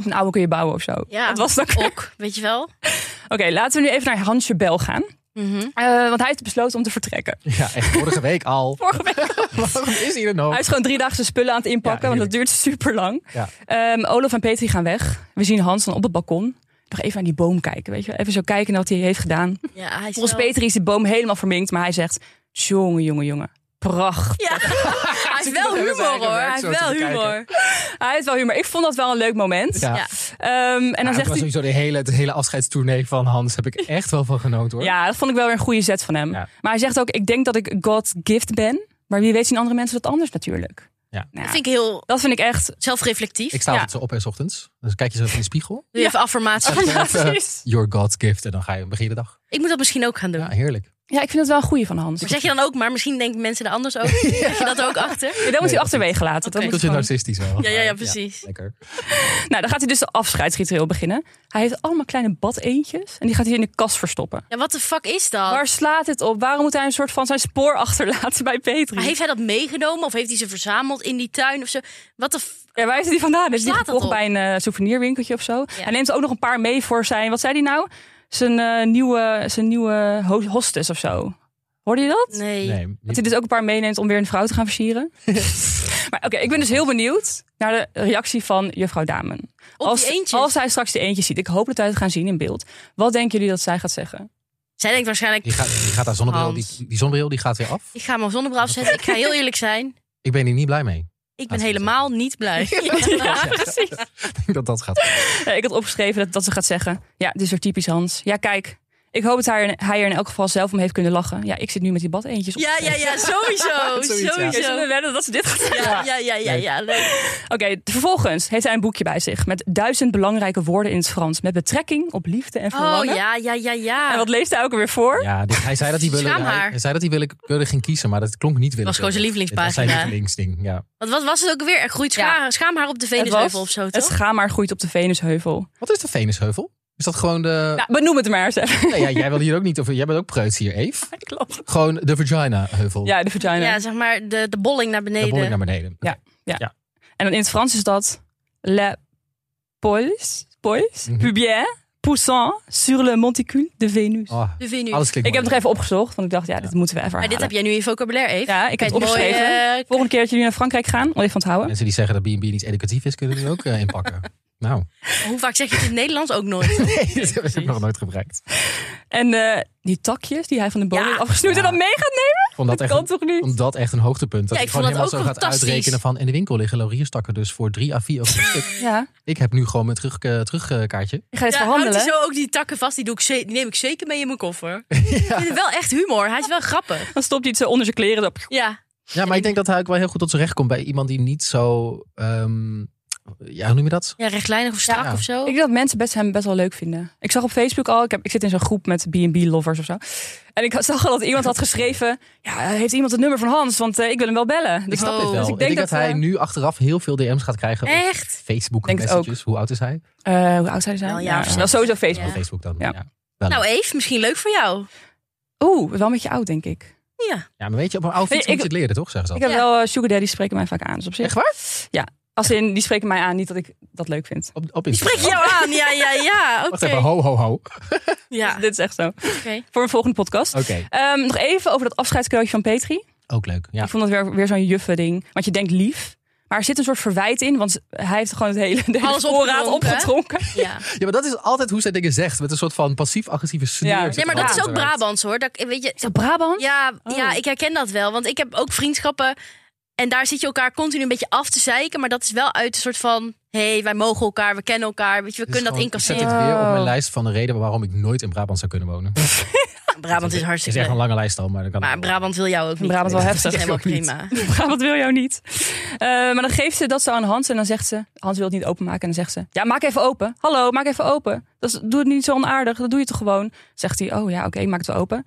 Speaker 2: Van oude kun je bouwen of zo.
Speaker 1: Ja.
Speaker 2: Dat was dan. Oké,
Speaker 1: Ook, weet je wel?
Speaker 2: laten we nu even naar Hansje Bel gaan.
Speaker 1: Mhm.
Speaker 2: Eh, want hij heeft besloten om te vertrekken.
Speaker 3: Ja, echt vorige week al.
Speaker 2: Vorige week
Speaker 3: Waarom is hij er nog?
Speaker 2: Hij is gewoon drie dagen zijn spullen aan het inpakken,
Speaker 3: Ja,
Speaker 2: want dat duurt super lang.
Speaker 3: Ja.
Speaker 2: Olaf en Petri gaan weg. We zien Hans dan op het balkon. Nog even aan die boom kijken, weet je. wel. Even zo kijken naar wat hij heeft gedaan.
Speaker 1: Ja, hij is
Speaker 2: Volgens
Speaker 1: wel-
Speaker 2: Petri is die boom helemaal verminkt, maar hij zegt... Jongen, jongen, jongen. Prachtig.
Speaker 1: Ja. hij heeft wel humor hoor. Hij heeft wel humor.
Speaker 2: Hij heeft wel humor. Ik vond dat wel een leuk moment.
Speaker 3: Ja.
Speaker 1: Ja.
Speaker 2: Ehm, en dan
Speaker 3: Ja,
Speaker 2: zegt
Speaker 3: het was
Speaker 2: hij...
Speaker 3: sowieso de hele, het hele afscheidstournee van Hans heb ik echt wel van genoten hoor.
Speaker 2: Ja, dat vond ik wel weer een goede zet van hem.
Speaker 3: Ja.
Speaker 2: Maar hij zegt ook, ik denk dat ik God gift ben. Maar wie weet zien andere mensen dat anders natuurlijk.
Speaker 3: Ja.
Speaker 2: Nou,
Speaker 1: Dat vind ik heel
Speaker 2: dat vind ik echt...
Speaker 1: zelfreflectief.
Speaker 3: Ik sta
Speaker 2: Ja.
Speaker 3: altijd zo op en 's ochtends. Dan kijk je zo in de spiegel.
Speaker 1: Doe je even affirmatie.
Speaker 3: Ja,
Speaker 2: precies.
Speaker 3: Your God's gift. En dan ga je begin je de dag.
Speaker 1: Ik moet dat misschien ook gaan doen.
Speaker 3: Ja, heerlijk.
Speaker 2: Ja, ik vind dat wel een goede van Hans.
Speaker 1: Maar zeg je dan ook, maar misschien denken mensen er anders over. Zeg je dat ook achter?
Speaker 2: Ja, dat moet
Speaker 3: Nee,
Speaker 2: hij achterwege laten. Dat
Speaker 1: Oké.
Speaker 2: moet
Speaker 3: Tot je
Speaker 2: gewoon-
Speaker 3: narcistisch wel.
Speaker 1: Ja, ja, ja, precies.
Speaker 3: lekker.
Speaker 2: Nou, dan gaat hij dus de afscheidsritueel beginnen. Hij heeft allemaal kleine badeentjes en die gaat hij in de kast verstoppen.
Speaker 1: Ja, wat de fuck is dat?
Speaker 2: Waar slaat dit op? Waarom moet hij een soort van zijn spoor achterlaten bij Petri?
Speaker 1: Maar heeft hij dat meegenomen of heeft hij ze verzameld in die tuin of zo? Wat de f-
Speaker 2: Ja, waar heeft hij die vandaan? Heeft hij die
Speaker 1: slaat dat
Speaker 2: gekocht
Speaker 1: op?
Speaker 2: bij een eh, souvenirwinkeltje of zo?
Speaker 1: Ja.
Speaker 2: Hij neemt er ook nog een paar mee voor zijn... Wat zei hij nou? Zijn eh, nieuwe, zijn nieuwe ho- hostess of zo. Hoorde je dat?
Speaker 1: Nee.
Speaker 3: Nee,
Speaker 2: Dat
Speaker 3: niet-
Speaker 2: hij dus ook een paar meeneemt om weer een vrouw te gaan versieren. maar oké, ik ben dus heel benieuwd naar de reactie van juffrouw Damen.
Speaker 1: Op
Speaker 2: als,
Speaker 1: die eentjes.
Speaker 2: als hij straks die eentjes ziet. Ik hoop dat wij het gaan zien in beeld. Wat denken jullie dat zij gaat zeggen?
Speaker 1: Zij denkt waarschijnlijk,
Speaker 3: die, gaat, die gaat haar zonnebril, die,
Speaker 1: Hans.
Speaker 3: die zonnebril die gaat weer af.
Speaker 1: ik ga mijn zonnebril afzetten. Ik ga heel eerlijk zijn.
Speaker 3: Ik ben hier niet blij mee.
Speaker 1: Ik
Speaker 3: Laat
Speaker 1: ben
Speaker 3: ze
Speaker 1: helemaal niet blij.
Speaker 2: precies.
Speaker 3: Ik denk dat dat gaat.
Speaker 2: Ja, Eh, ik had opgeschreven dat, dat ze gaat zeggen. Ja, dit is weer typisch Hans. Ja, kijk. Ik hoop dat hij, er- hij er in elk geval zelf om heeft kunnen lachen. Ja, ik zit nu met die badeentjes op.
Speaker 1: Ja, ja, ja, sowieso.
Speaker 3: Zoiets, ja.
Speaker 2: Zullen
Speaker 1: sowieso.
Speaker 2: we wedden dat ze dit gaat zeggen?
Speaker 1: Ja, ja, ja, ja, ja, leuk.
Speaker 2: Oké, vervolgens heeft hij een boekje bij zich met duizend belangrijke woorden in het Frans. Met betrekking op liefde en
Speaker 1: Oh
Speaker 2: verlangen.
Speaker 1: ja, ja, ja, ja.
Speaker 2: En wat leest hij ook alweer voor?
Speaker 3: Ja, dit- hij zei dat hij wilde.
Speaker 1: Schaamhaar.
Speaker 3: Hij, hij zei dat hij willekeurig ging kiezen, maar dat klonk niet willekeurig.
Speaker 1: gewoon zijn lievelingspagina.
Speaker 3: Dit was zijn lievelingsding, ja.
Speaker 1: Want wat was het ook weer? Er groeit scha schaamhaar op de
Speaker 2: het
Speaker 1: Venusheuvel
Speaker 2: was,
Speaker 1: of zo,
Speaker 2: Het
Speaker 1: toch?
Speaker 2: schaamhaar groeit op de Venusheuvel.
Speaker 3: Wat is de Venusheuvel? Is dat gewoon de...
Speaker 2: Nou, benoem het maar eens even.
Speaker 3: Nee, ja, jij wil hier ook niet over... Jij bent ook preuts hier, Eve.
Speaker 2: Klopt.
Speaker 3: Gewoon de vagina-heuvel.
Speaker 2: Ja, de vagina.
Speaker 1: Ja, zeg maar de, de bolling naar
Speaker 3: De
Speaker 1: beneden.
Speaker 3: bolling naar beneden.
Speaker 2: Ja. En dan in het Frans is dat Le Poils, Poils,
Speaker 3: Mhm.
Speaker 2: Pubien, Poussant sur le monticule de Venus.
Speaker 3: Oh,
Speaker 1: De Venus.
Speaker 3: alles klinkt
Speaker 2: Ik heb het
Speaker 3: mooi.
Speaker 2: nog even opgezocht, want ik dacht, ja, dit moeten we even
Speaker 1: Maar dit
Speaker 2: herhalen.
Speaker 1: heb jij nu in je vocabulaire, Eve.
Speaker 2: Ja, ik heb het
Speaker 1: Kijk, mooi,
Speaker 2: opgeschreven.
Speaker 1: eh,
Speaker 2: Volgende keer dat jullie naar Frankrijk gaan, om even van te houden.
Speaker 3: Mensen die zeggen dat B&B niet educatief is, kunnen die ook eh, inpakken. Nou,
Speaker 1: eh, Hoe vaak zeg je het in het Nederlands ook nooit?
Speaker 3: nee, dat heb ik
Speaker 2: precies.
Speaker 3: nog nooit gebruikt.
Speaker 2: En eh, die takjes die hij van de boom
Speaker 1: Ja.
Speaker 2: heeft afgesnoerd en
Speaker 3: Ja.
Speaker 2: dan mee gaat nemen,
Speaker 3: Ik vond dat,
Speaker 2: dat
Speaker 3: echt
Speaker 2: kan
Speaker 3: een,
Speaker 2: toch niet?
Speaker 3: vond dat echt een hoogtepunt. Dat
Speaker 1: Ja,
Speaker 3: je
Speaker 1: ik
Speaker 3: gewoon
Speaker 1: vond dat
Speaker 3: helemaal zo
Speaker 1: ook
Speaker 3: gaat
Speaker 1: fantastisch.
Speaker 3: uitrekenen van... in de winkel liggen laurierstakken dus voor 3 à 4 euro een stuk.
Speaker 2: Ja,
Speaker 3: Ik heb nu gewoon mijn terug, eh, terugkaartje.
Speaker 2: ik ga dit
Speaker 1: Ja, houdt
Speaker 2: verhandelen.
Speaker 1: hij zo ook die takken vast? Die, doe ik ze- die neem ik zeker mee in mijn koffer. Ik vind het wel echt humor. Hij is wel grappig.
Speaker 2: Dan stopt hij het zo onder zijn kleren. zo.
Speaker 1: Ja,
Speaker 3: Ja, maar ik denk dat hij ook wel heel goed tot zijn recht komt bij iemand die niet zo... ehm, ja, hoe noem je dat?
Speaker 1: ja rechtlijnig of strak
Speaker 3: Ja.
Speaker 1: of zo.
Speaker 2: Ik denk dat mensen best, hem best wel leuk vinden. Ik zag op Facebook al, ik, heb, ik zit in zo'n groep met B&B-lovers of zo. En ik zag al dat iemand had geschreven... Ja, heeft iemand het nummer van Hans? Want eh, ik wil hem wel bellen. Dus
Speaker 3: Ik snap dit
Speaker 1: Oh.
Speaker 3: wel.
Speaker 1: Dus
Speaker 3: ik denk, dat, hij
Speaker 2: eh,
Speaker 3: nu achteraf heel veel DM's gaat krijgen. op
Speaker 1: Echt?
Speaker 3: Facebook
Speaker 2: Denk het
Speaker 3: messages. Hoe oud is hij?
Speaker 2: eh, hoe oud zou hij zijn?
Speaker 1: Wel,
Speaker 2: ja,
Speaker 1: ja.
Speaker 2: dat is sowieso Facebook.
Speaker 3: Op Facebook dan.
Speaker 2: Ja.
Speaker 3: Ja. Wel
Speaker 1: Nou,
Speaker 3: leuk.
Speaker 1: Eve, misschien leuk voor jou.
Speaker 2: Oeh, wel een beetje oud, denk ik.
Speaker 1: Ja.
Speaker 3: ja, maar weet je, op een oude fiets
Speaker 2: Nee,
Speaker 3: moet je
Speaker 2: ik-
Speaker 3: het leren, toch? Zeggen ze
Speaker 2: Ik
Speaker 3: dat.
Speaker 2: heb
Speaker 1: Ja.
Speaker 2: wel... eh, sugar daddy spreken mij vaak aan. Dus op zich...
Speaker 3: Echt waar?
Speaker 2: Ja, als in, die spreken mij aan. Niet dat ik dat leuk vind.
Speaker 3: Op, op
Speaker 1: Die
Speaker 3: Instagram.
Speaker 1: spreek jou aan. Ja, ja, ja. Oké.
Speaker 3: Wacht even, ho, ho, ho. Oké.
Speaker 1: Ja,
Speaker 2: Dus dit is echt zo.
Speaker 1: oké.
Speaker 2: Voor een volgende podcast. Ehm, nog even over dat afscheidscadeautje van Petri.
Speaker 3: Ook leuk. Ja.
Speaker 2: Ik vond het weer, weer zo'n juffe ding. Want je denkt lief. Maar er zit een soort verwijt in. Want hij heeft gewoon het hele, de hele
Speaker 1: Alles
Speaker 2: voorraad
Speaker 1: opgedronken, hè?
Speaker 2: opgetronken.
Speaker 1: Ja.
Speaker 3: ja, maar dat is altijd hoe zij dingen zegt. Met een soort van passief-agressieve sneer.
Speaker 2: Ja.
Speaker 3: zit
Speaker 1: Nee, maar
Speaker 3: er
Speaker 1: dat is
Speaker 3: altijd
Speaker 1: ook
Speaker 3: uit.
Speaker 1: Brabants hoor. Dat, weet je,
Speaker 2: Is dat Brabant?
Speaker 1: ja,
Speaker 2: Oh.
Speaker 1: ja, ik herken dat wel. Want ik heb ook vriendschappen. En daar zit je elkaar continu een beetje af te zeiken. Maar dat is wel uit een soort van... Hé, hey, wij mogen elkaar, we kennen elkaar. Weet je, we
Speaker 3: Dit is
Speaker 1: kunnen dat
Speaker 3: gewoon-
Speaker 1: incasseren.
Speaker 3: Ik zet dit weer op
Speaker 2: Oh.
Speaker 3: mijn lijst van de redenen waarom ik nooit in Brabant zou kunnen wonen. Het
Speaker 1: Brabant is
Speaker 3: is
Speaker 1: hartstikke
Speaker 3: echt een
Speaker 1: leuk.
Speaker 3: lange lijst al, maar dan kan
Speaker 1: Maar
Speaker 3: ik wel.
Speaker 1: Brabant wil jou ook niet.
Speaker 2: Brabant wel
Speaker 1: Dat is
Speaker 2: heftig.
Speaker 1: helemaal
Speaker 3: Ik ook niet.
Speaker 1: prima.
Speaker 2: Brabant wil jou niet. Eh, maar dan geeft ze dat zo aan Hans. En dan zegt ze... Hans wil het niet openmaken. En dan zegt ze... Ja, maak even open. Hallo, maak even open. Dat is, doe het niet zo onaardig. Dat doe je toch gewoon? Zegt hij... Oh ja, oké, ik maak het wel open.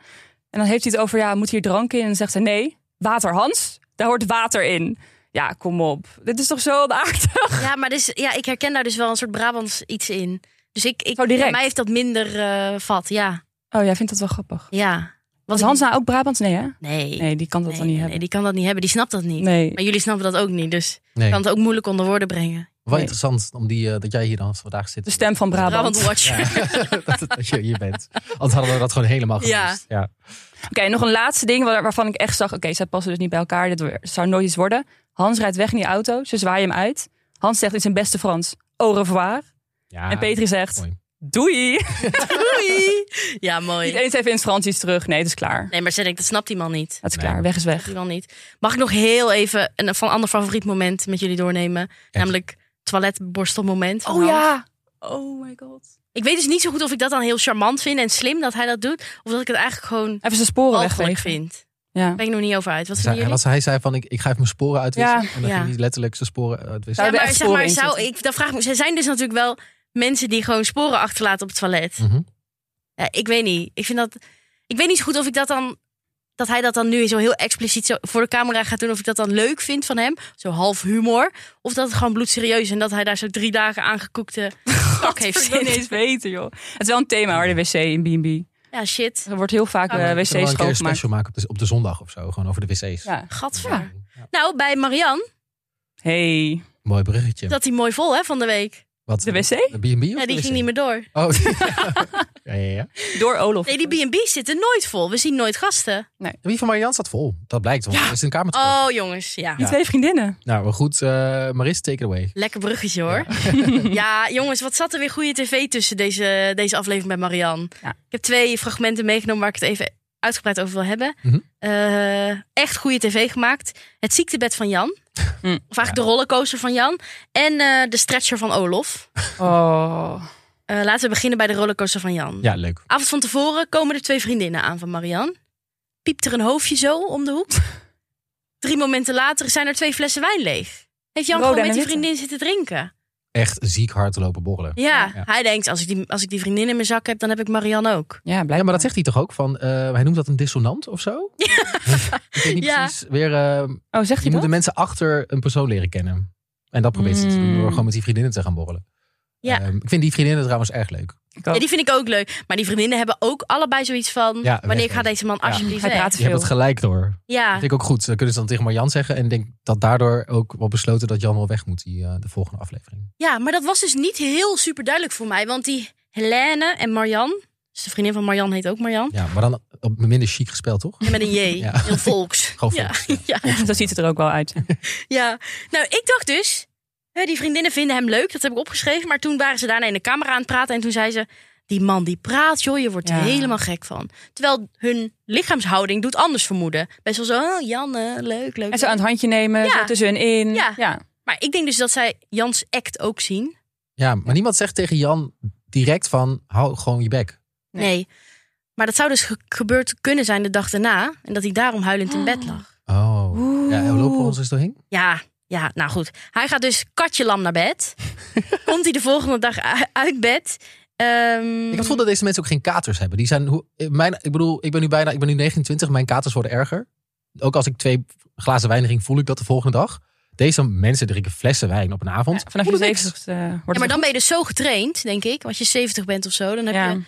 Speaker 2: En dan heeft hij het over... Ja, moet hier drank in? En dan zegt ze... Nee, water Hans. Daar hoort water in. Ja, kom op. Dit is toch zo onaardig?
Speaker 1: Ja, maar dus, ja, ik herken daar dus wel een soort Brabants iets in. Dus ik, ik
Speaker 2: Oh, direct.
Speaker 1: bij mij heeft dat minder eh, vat. Ja,
Speaker 2: Oh, jij vindt dat wel grappig.
Speaker 1: ja.
Speaker 2: Was
Speaker 1: ik-
Speaker 2: Hans nou ook Brabant? Nee, hè?
Speaker 1: Nee, nee,
Speaker 2: Nee, die kan dat
Speaker 1: nee,
Speaker 2: dan niet
Speaker 1: nee,
Speaker 2: hebben.
Speaker 1: die kan dat niet hebben. Die snapt dat niet.
Speaker 2: Nee.
Speaker 1: Maar jullie snappen dat ook niet. Dus ik
Speaker 3: Nee.
Speaker 1: kan het ook moeilijk onder woorden brengen.
Speaker 3: Wel
Speaker 2: Nee.
Speaker 3: interessant om die, eh, dat jij hier dan vandaag zit.
Speaker 1: Dus-
Speaker 2: De stem van Brabant.
Speaker 1: Brabant Watcher.
Speaker 3: Ja, dat, dat je hier bent. Anders hadden we dat gewoon helemaal
Speaker 1: Ja.
Speaker 3: gemist. Ja.
Speaker 2: Oké, nog een laatste ding waar- waarvan ik echt zag... Oké, zij passen dus niet bij elkaar. Dit weer- zou nooit iets worden. Hans rijdt weg in die auto. Ze zwaaien hem uit. Hans zegt in zijn beste Frans... Au revoir.
Speaker 3: Ja.
Speaker 2: en Petri zegt...
Speaker 3: mooi.
Speaker 2: Doei!
Speaker 1: Doei! Ja,
Speaker 2: Niet
Speaker 1: mooi.
Speaker 2: eens even instanties terug. Nee, het is klaar.
Speaker 1: Nee, Oh maar ze denkt, dat snapt die man niet.
Speaker 2: Het is
Speaker 3: Nee.
Speaker 2: klaar. Weg is
Speaker 1: Snapt
Speaker 2: weg.
Speaker 1: die man niet. Mag ik nog heel even een van ander favoriet moment met jullie doornemen? Namelijk toiletborstelmoment. van Hans.
Speaker 2: Oh my god.
Speaker 1: Ik weet dus niet zo goed of ik dat dan heel charmant vind en slim dat hij dat doet. Of dat ik het eigenlijk gewoon
Speaker 2: Even zijn sporen
Speaker 1: walgelijk
Speaker 2: wegvegen.
Speaker 1: vind.
Speaker 2: Ja.
Speaker 1: Daar ben ik nog niet over uit. Wat
Speaker 3: Zei-
Speaker 1: vinden
Speaker 3: en
Speaker 1: jullie?
Speaker 3: wat hij zei van, ik, ik ga even mijn sporen uitwissen.
Speaker 2: Ja.
Speaker 3: en dan
Speaker 1: Ja.
Speaker 3: ging hij letterlijk zijn sporen uitwissen.
Speaker 1: Ja,
Speaker 2: Zouden
Speaker 1: maar
Speaker 2: echt
Speaker 1: zeg
Speaker 2: sporen
Speaker 1: maar,
Speaker 2: in
Speaker 1: zou
Speaker 2: zitten?
Speaker 1: ik, dan vraag ik me, er zijn dus natuurlijk wel mensen die gewoon sporen achterlaten op het toilet.
Speaker 3: Mhm.
Speaker 1: Ja, ik weet niet. Ik vind dat, ik weet niet zo goed of ik dat dan, dat hij dat dan nu zo heel expliciet zo voor de camera gaat doen, of ik dat dan leuk vind van hem, zo half humor, of dat het gewoon bloedserieus is en dat hij daar zo drie dagen aangekoekte kak heeft
Speaker 2: Ik wil niet
Speaker 1: zitten.
Speaker 2: eens weten, joh. Het is wel een thema hoor, de wc in B&B.
Speaker 1: Ja, shit.
Speaker 2: Er wordt heel vaak
Speaker 1: Oh,
Speaker 2: eh,
Speaker 3: Zullen we wel
Speaker 2: wc
Speaker 3: een keer een
Speaker 2: schoongemaakt.
Speaker 3: special maken op de, op de zondag of zo. Gewoon over de wc's.
Speaker 2: Ja.
Speaker 1: Gadver.
Speaker 2: Ja.
Speaker 1: Nou, bij Marianne,
Speaker 2: Hey,
Speaker 3: Mooi bruggetje.
Speaker 1: dat hij mooi vol hè van de week.
Speaker 3: Wat,
Speaker 2: de wc?
Speaker 3: De B&B of
Speaker 1: Ja, die
Speaker 3: de
Speaker 1: ging
Speaker 3: wc?
Speaker 1: niet meer door.
Speaker 3: Oh, ja, ja, ja.
Speaker 2: Door Olof.
Speaker 1: Nee, die B&B's zitten nooit vol. We zien nooit gasten.
Speaker 3: Wie van Marian staat vol? Dat blijkt, want
Speaker 2: Ja.
Speaker 3: er is een kamer te vol.
Speaker 1: Oh, jongens, ja.
Speaker 2: Die twee vriendinnen.
Speaker 3: Nou, maar goed. eh, Maris, take it away.
Speaker 1: Lekker bruggetje hoor. Ja. jongens, wat zat er weer goede tv tussen deze, deze aflevering bij Marianne.
Speaker 2: Ja.
Speaker 1: Ik heb twee fragmenten meegenomen waar ik het even uitgebreid over wil hebben.
Speaker 3: Mhm.
Speaker 1: Eh, echt goede tv gemaakt. Het ziektebed van Jan.
Speaker 2: Hm.
Speaker 1: Of eigenlijk de rollercoaster van Jan. En eh, de stretcher van Olof.
Speaker 2: Oh.
Speaker 1: Eh, laten we beginnen bij de rollercoaster van Jan.
Speaker 3: Ja, leuk.
Speaker 1: Avond van tevoren komen er twee vriendinnen aan van Marianne. Piept er een hoofdje zo om de hoek. Drie momenten later zijn er twee flessen wijn leeg. Heeft Jan
Speaker 2: Rode
Speaker 1: gewoon met
Speaker 2: en
Speaker 1: die
Speaker 2: witte.
Speaker 1: vriendin zitten drinken?
Speaker 3: Echt ziek hard te lopen borrelen.
Speaker 1: Ja,
Speaker 3: Ja.
Speaker 1: hij denkt, als ik, die, als ik die vriendin in mijn zak heb, dan heb ik Marianne ook.
Speaker 2: Ja, blijkbaar.
Speaker 3: Ja, maar dat zegt hij toch ook? Van, eh, hij noemt dat een dissonant of zo? Ja. Ik weet niet
Speaker 1: Ja.
Speaker 3: precies. Weer, eh,
Speaker 2: Oh, zegt
Speaker 3: je
Speaker 2: hij
Speaker 3: moet de
Speaker 2: dat?
Speaker 3: mensen achter een persoon leren kennen. En dat probeert ze te doen
Speaker 2: Mm.
Speaker 3: door gewoon met die vriendinnen te gaan borrelen.
Speaker 1: Ja.
Speaker 3: Ehm, ik vind die vriendinnen trouwens erg leuk.
Speaker 2: Ik
Speaker 1: Ja,
Speaker 2: ook.
Speaker 1: die vind ik ook leuk. Maar die vriendinnen hebben ook allebei zoiets van...
Speaker 3: Ja,
Speaker 1: wanneer
Speaker 3: weg,
Speaker 1: gaat
Speaker 3: weg.
Speaker 1: deze man
Speaker 3: Ja.
Speaker 1: alsjeblieft
Speaker 2: Hij
Speaker 1: weg?
Speaker 2: praat te
Speaker 3: Je hebt
Speaker 2: veel.
Speaker 3: het gelijk door.
Speaker 1: Ja,
Speaker 3: Dat vind ik ook goed. Dan kunnen ze dan tegen Marjan zeggen. En ik denk dat daardoor ook wel besloten dat Jan wel weg moet die, eh, de volgende aflevering.
Speaker 1: ja, maar dat was dus niet heel super duidelijk voor mij. Want die Helene en Marianne... Dus de vriendin van Marianne heet ook Marianne.
Speaker 3: Ja, maar dan op minder chic gespeeld, toch?
Speaker 1: En met een J.
Speaker 3: Ja.
Speaker 1: Heel volks.
Speaker 3: Gewoon
Speaker 1: ja.
Speaker 3: volks, ja.
Speaker 1: Ja.
Speaker 2: Zo ziet het er ook wel uit.
Speaker 1: ja. Nou, ik dacht dus... hè, die vriendinnen vinden hem leuk. Dat heb ik opgeschreven. Maar toen waren ze daarna in de camera aan het praten. En toen zei ze... Die man die praat, joh, je wordt er
Speaker 2: Ja.
Speaker 1: helemaal gek van. Terwijl hun lichaamshouding doet anders vermoeden. Best wel zo, oh, Janne, leuk, leuk.
Speaker 2: En zo aan het handje nemen,
Speaker 1: Ja.
Speaker 2: zo tussen hun in.
Speaker 1: Ja.
Speaker 2: Ja.
Speaker 1: Maar ik denk dus dat zij Jans act ook zien.
Speaker 3: Ja, maar niemand zegt tegen Jan direct van hou gewoon je bek.
Speaker 1: Nee. Maar dat zou dus ge- gebeurd kunnen zijn de dag daarna. En dat hij daarom huilend in bed lag.
Speaker 3: Oh.
Speaker 2: Ah. Oeh.
Speaker 3: Ja, lopen we ons eens doorheen?
Speaker 1: Ja, ja, nou goed. Hij gaat dus katje lam naar bed. Komt hij de volgende dag u- uit bed. Ehm,
Speaker 3: Ik had het gevoel dat deze mensen ook geen katers hebben. Die zijn, hoe, mijn, ik bedoel, ik ben nu bijna, ik ben nu 29, mijn katers worden erger. Ook als ik twee glazen wijn drink, voel ik dat de volgende dag. Deze mensen drinken flessen wijn op een avond.
Speaker 2: Vanaf je
Speaker 3: Voelen niks.
Speaker 2: 70 eh, wordt
Speaker 1: ja,
Speaker 2: het
Speaker 1: maar dan ben je dus zo getraind, denk ik. Als je 70 bent of zo, dan heb
Speaker 2: Ja.
Speaker 1: je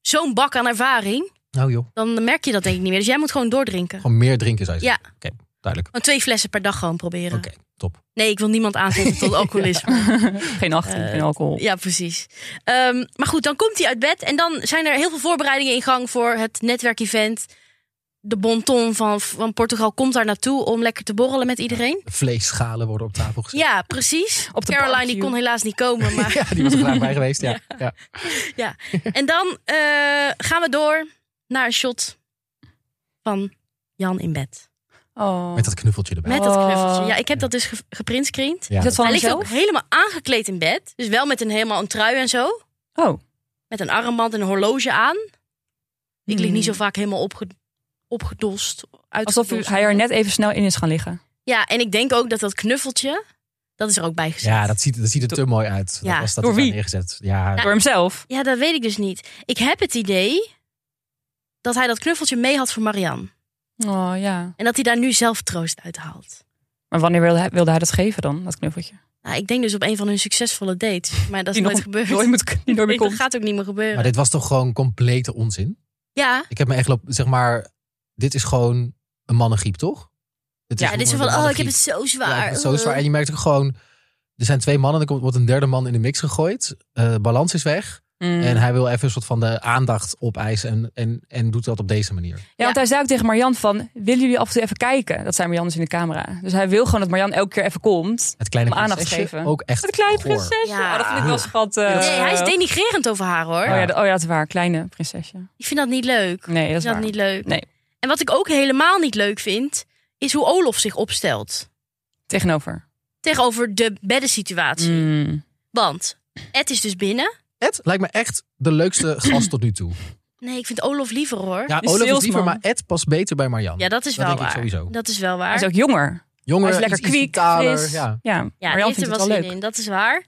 Speaker 1: zo'n bak aan ervaring.
Speaker 3: Nou joh,
Speaker 1: Dan merk je dat denk ik niet meer. Dus jij moet gewoon doordrinken.
Speaker 3: gewoon meer drinken zou je
Speaker 1: Ja.
Speaker 3: zeggen. Oké, duidelijk.
Speaker 1: Gewoon twee flessen per dag gewoon proberen.
Speaker 3: Oké, top.
Speaker 1: Nee, ik wil niemand aanzetten tot alcoholisme.
Speaker 2: geen 18,
Speaker 1: Eh,
Speaker 2: geen alcohol.
Speaker 1: Ja, precies. Ehm, maar goed, dan komt hij uit bed en dan zijn er heel veel voorbereidingen in gang voor het netwerkevent. De bonton van, van Portugal komt daar naartoe om lekker te borrelen met iedereen.
Speaker 3: Vleesschalen worden op tafel gezet.
Speaker 1: Ja, precies.
Speaker 2: Op de
Speaker 1: Caroline die
Speaker 2: barbecue.
Speaker 1: kon helaas niet komen. Maar...
Speaker 3: Ja, die was er graag bij geweest. Ja. Ja.
Speaker 1: En dan eh, gaan we door naar een shot van Jan in bed.
Speaker 2: Oh.
Speaker 3: Met dat knuffeltje erbij.
Speaker 1: Met dat
Speaker 2: Oh.
Speaker 1: knuffeltje. Ja, ik heb dat dus ge- geprintscreend.
Speaker 3: Ja,
Speaker 2: Is dat van
Speaker 1: Hij ligt ook
Speaker 2: hemzelf?
Speaker 1: helemaal aangekleed in bed. Dus wel met een helemaal een trui en zo.
Speaker 2: Oh.
Speaker 1: met een armband en een horloge aan. Ik lig
Speaker 2: Hmm.
Speaker 1: niet zo vaak helemaal opge, opgedost.
Speaker 2: Alsof
Speaker 1: uitgedost.
Speaker 2: hij er net even snel in is gaan liggen.
Speaker 1: Ja, en ik denk ook dat dat knuffeltje, dat is er ook bij gezet.
Speaker 3: ja dat, ziet, dat ziet er te mooi uit.
Speaker 1: Ja.
Speaker 3: Dat was dat
Speaker 2: Door
Speaker 3: is daar
Speaker 2: wie?
Speaker 3: neergezet. Ja,
Speaker 2: Door hemzelf.
Speaker 1: Ja, dat weet ik dus niet. Ik heb het idee dat hij dat knuffeltje mee had voor Marianne.
Speaker 2: Oh ja.
Speaker 1: En dat hij daar nu zelf troost uit haalt.
Speaker 2: Maar wanneer wilde hij, wilde hij dat geven dan, dat knuffeltje?
Speaker 1: Nou, ik denk dus op een van hun succesvolle dates. Maar dat is
Speaker 2: Die
Speaker 1: nooit
Speaker 2: nog
Speaker 1: gebeurd.
Speaker 2: Nooit moet, die nooit meer
Speaker 1: Nee, dat
Speaker 2: komt.
Speaker 1: gaat ook niet meer gebeuren.
Speaker 3: maar dit was toch gewoon complete onzin?
Speaker 1: Ja,
Speaker 3: Ik heb me echt lopen, zeg maar, dit is gewoon een mannengriep, toch? Het
Speaker 1: ja, dit is zo van,
Speaker 3: gewoon
Speaker 1: oh,
Speaker 3: een
Speaker 1: ik heb het
Speaker 3: mannengriep.
Speaker 1: zo
Speaker 3: Ja,
Speaker 1: zwaar. Eh,
Speaker 3: ik heb het zo zwaar. En je merkt ook gewoon, er zijn twee mannen en er komt- wordt een derde man in de mix gegooid. Eh, balans is weg.
Speaker 2: Mm.
Speaker 3: En hij wil even een soort van de aandacht opeisen en, en, en doet dat op deze manier.
Speaker 2: Ja, want hij zei ook tegen Marian van, willen jullie af en toe even kijken? Dat zijn Marian dus in de camera. Dus hij wil gewoon dat Marian elke keer even komt.
Speaker 3: Het kleine
Speaker 2: Om aandacht te
Speaker 3: prinsesje,
Speaker 2: geven.
Speaker 3: ook echt
Speaker 2: Het kleine
Speaker 3: goor.
Speaker 2: prinsesje.
Speaker 1: Ja.
Speaker 2: Oh, dat vind ik wel schattig.
Speaker 1: Nee, hij is denigrerend over haar hoor.
Speaker 2: Oh Eh. ja, dat- oh ja, dat is waar. Kleine prinsesje.
Speaker 1: Ik vind dat niet leuk.
Speaker 2: Nee,
Speaker 1: Ik
Speaker 2: dat is
Speaker 1: vind
Speaker 2: waar.
Speaker 1: dat niet leuk.
Speaker 2: Nee.
Speaker 1: En wat ik ook helemaal niet leuk vind, is hoe Olof zich opstelt.
Speaker 2: Tegenover.
Speaker 1: Tegenover de beddensituatie.
Speaker 2: Mm.
Speaker 1: Want Ed is dus binnen.
Speaker 3: Ed lijkt me echt de leukste gast tot nu toe.
Speaker 1: Nee, ik vind Olof liever hoor. Ja,
Speaker 3: Ja,
Speaker 2: Die
Speaker 3: Olaf is liever,
Speaker 2: salesman.
Speaker 3: maar Ed past beter bij Marjan.
Speaker 1: dat is wel
Speaker 3: dat denk ik
Speaker 1: waar.
Speaker 3: sowieso.
Speaker 1: Dat is wel
Speaker 2: Hij
Speaker 1: waar.
Speaker 2: is ook jonger.
Speaker 3: Jonger,
Speaker 2: hij is lekker
Speaker 3: iets- iets
Speaker 2: kwiek,
Speaker 3: vitaler,
Speaker 2: fris.
Speaker 3: Ja.
Speaker 2: Ja,
Speaker 1: ja, die heeft
Speaker 2: Marjan vindt
Speaker 1: er
Speaker 2: het
Speaker 1: wel
Speaker 2: wel
Speaker 1: zin
Speaker 2: leuk.
Speaker 1: in. Dat is waar.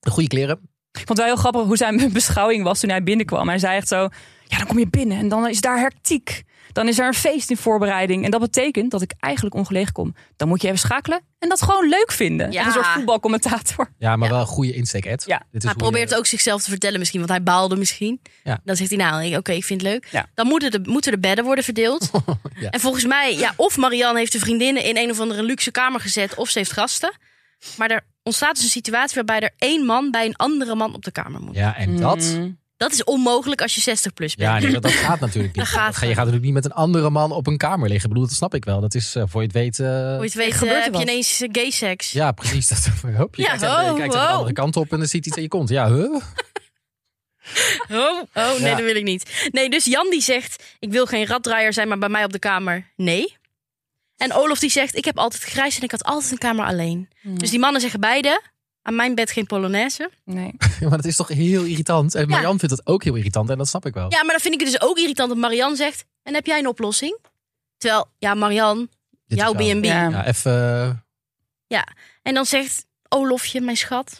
Speaker 3: De goede kleren.
Speaker 2: Ik vond het wel heel grappig hoe zijn beschouwing was toen hij binnenkwam. Hij zei echt zo, ja dan kom je binnen en dan is daar hectiek. Dan is er een feest in voorbereiding. En dat betekent dat ik eigenlijk ongelegen kom. Dan moet je even schakelen en dat gewoon leuk vinden.
Speaker 1: Ja.
Speaker 2: Echt Een soort voetbalcommentator.
Speaker 3: Ja, maar
Speaker 1: Ja.
Speaker 3: wel een goede insteek, Ed.
Speaker 2: Ja.
Speaker 3: Dit
Speaker 1: Hij
Speaker 3: is hoe je-
Speaker 1: probeert ook zichzelf te vertellen misschien, want hij baalde misschien.
Speaker 3: Ja.
Speaker 1: Dan zegt hij nou, oké, ik vind het leuk.
Speaker 2: Ja.
Speaker 1: Dan moeten de, moeten de bedden worden verdeeld.
Speaker 3: Ja.
Speaker 1: En volgens mij, ja, of Marianne heeft de vriendinnen in een of andere luxe kamer gezet, of ze heeft gasten. Maar er ontstaat dus een situatie waarbij er één man bij een andere man op de kamer moet.
Speaker 3: Ja, en dat...
Speaker 2: Mm.
Speaker 1: Dat is onmogelijk als je 60 plus bent.
Speaker 3: Ja, nee, dat, dat gaat natuurlijk niet.
Speaker 1: Dat gaat
Speaker 3: Dat ga- je gaat natuurlijk niet met een andere man op een kamer liggen. Ik bedoel, dat snap ik wel. Dat is, eh, voor je het weet... eh,
Speaker 1: Hoe je het weet,
Speaker 2: gebeurt
Speaker 1: eh,
Speaker 2: er
Speaker 1: heb je
Speaker 2: wat.
Speaker 1: ineens eh, gay seks.
Speaker 3: Ja, precies. Dat hoop je.
Speaker 1: Ja,
Speaker 3: kijkt, aan- je
Speaker 1: oh,
Speaker 3: kijkt aan
Speaker 1: wow.
Speaker 3: de andere kant op en dan ziet iets aan je kont. Ja, huh?
Speaker 1: Oh, oh nee,
Speaker 3: Ja.
Speaker 1: dat wil ik niet. Nee, dus Jan die zegt, ik wil geen raddraaier zijn, maar bij mij op de kamer, nee. En Olof die zegt, ik heb altijd grijs en ik had altijd een kamer alleen. Dus die mannen zeggen beide, aan mijn bed geen polonaise.
Speaker 2: Mm. Nee.
Speaker 3: Ja, maar dat is toch heel irritant. En Marian vindt dat ook heel irritant en dat snap ik wel.
Speaker 1: Ja, maar dan vind ik het dus ook irritant dat Marianne zegt, en heb jij een oplossing? Terwijl, ja, Marianne,
Speaker 3: Dit is
Speaker 1: jouw
Speaker 3: wel-
Speaker 1: B&B.
Speaker 2: Ja.
Speaker 3: Ja, even... eh,
Speaker 1: En dan zegt Olofje, mijn schat,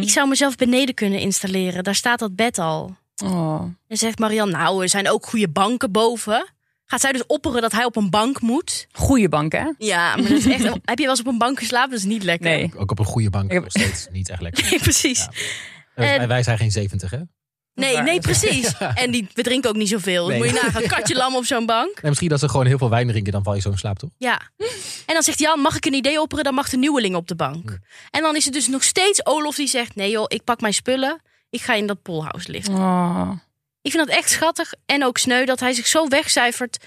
Speaker 1: ik zou mezelf beneden kunnen installeren. Daar staat dat bed al.
Speaker 2: Oh.
Speaker 1: En zegt Marianne, nou, er zijn ook goede banken boven. Gaat zij dus opperen dat hij op een bank moet?
Speaker 2: Goeie bank hè?
Speaker 1: Ja, maar dat is echt. heb je wel eens op een bank geslapen? Dat is niet lekker.
Speaker 2: Nee.
Speaker 3: Ook op een goede bank
Speaker 2: Ik heb-
Speaker 3: nog steeds niet echt lekker.
Speaker 1: Nee, precies.
Speaker 3: Ja. Wij-
Speaker 1: En-
Speaker 3: Wij zijn geen 70, hè? Nee,
Speaker 1: Nee,
Speaker 2: Waar-
Speaker 1: nee, precies. En die, we drinken ook niet zoveel.
Speaker 3: Nee.
Speaker 1: Moet je nagaan, katje lam op zo'n bank.
Speaker 3: misschien dat ze gewoon heel veel wijn drinken, dan val je zo in slaap, toch?
Speaker 1: Ja. En dan zegt Jan, mag ik een idee opperen? Dan mag de nieuweling op de
Speaker 3: Hm.
Speaker 1: bank. En dan is het dus nog steeds Olof die zegt... nee joh, ik pak mijn spullen, ik ga in dat polhouse liggen.
Speaker 2: Oh.
Speaker 1: Ik vind dat echt schattig en ook sneu dat hij zich zo wegcijfert.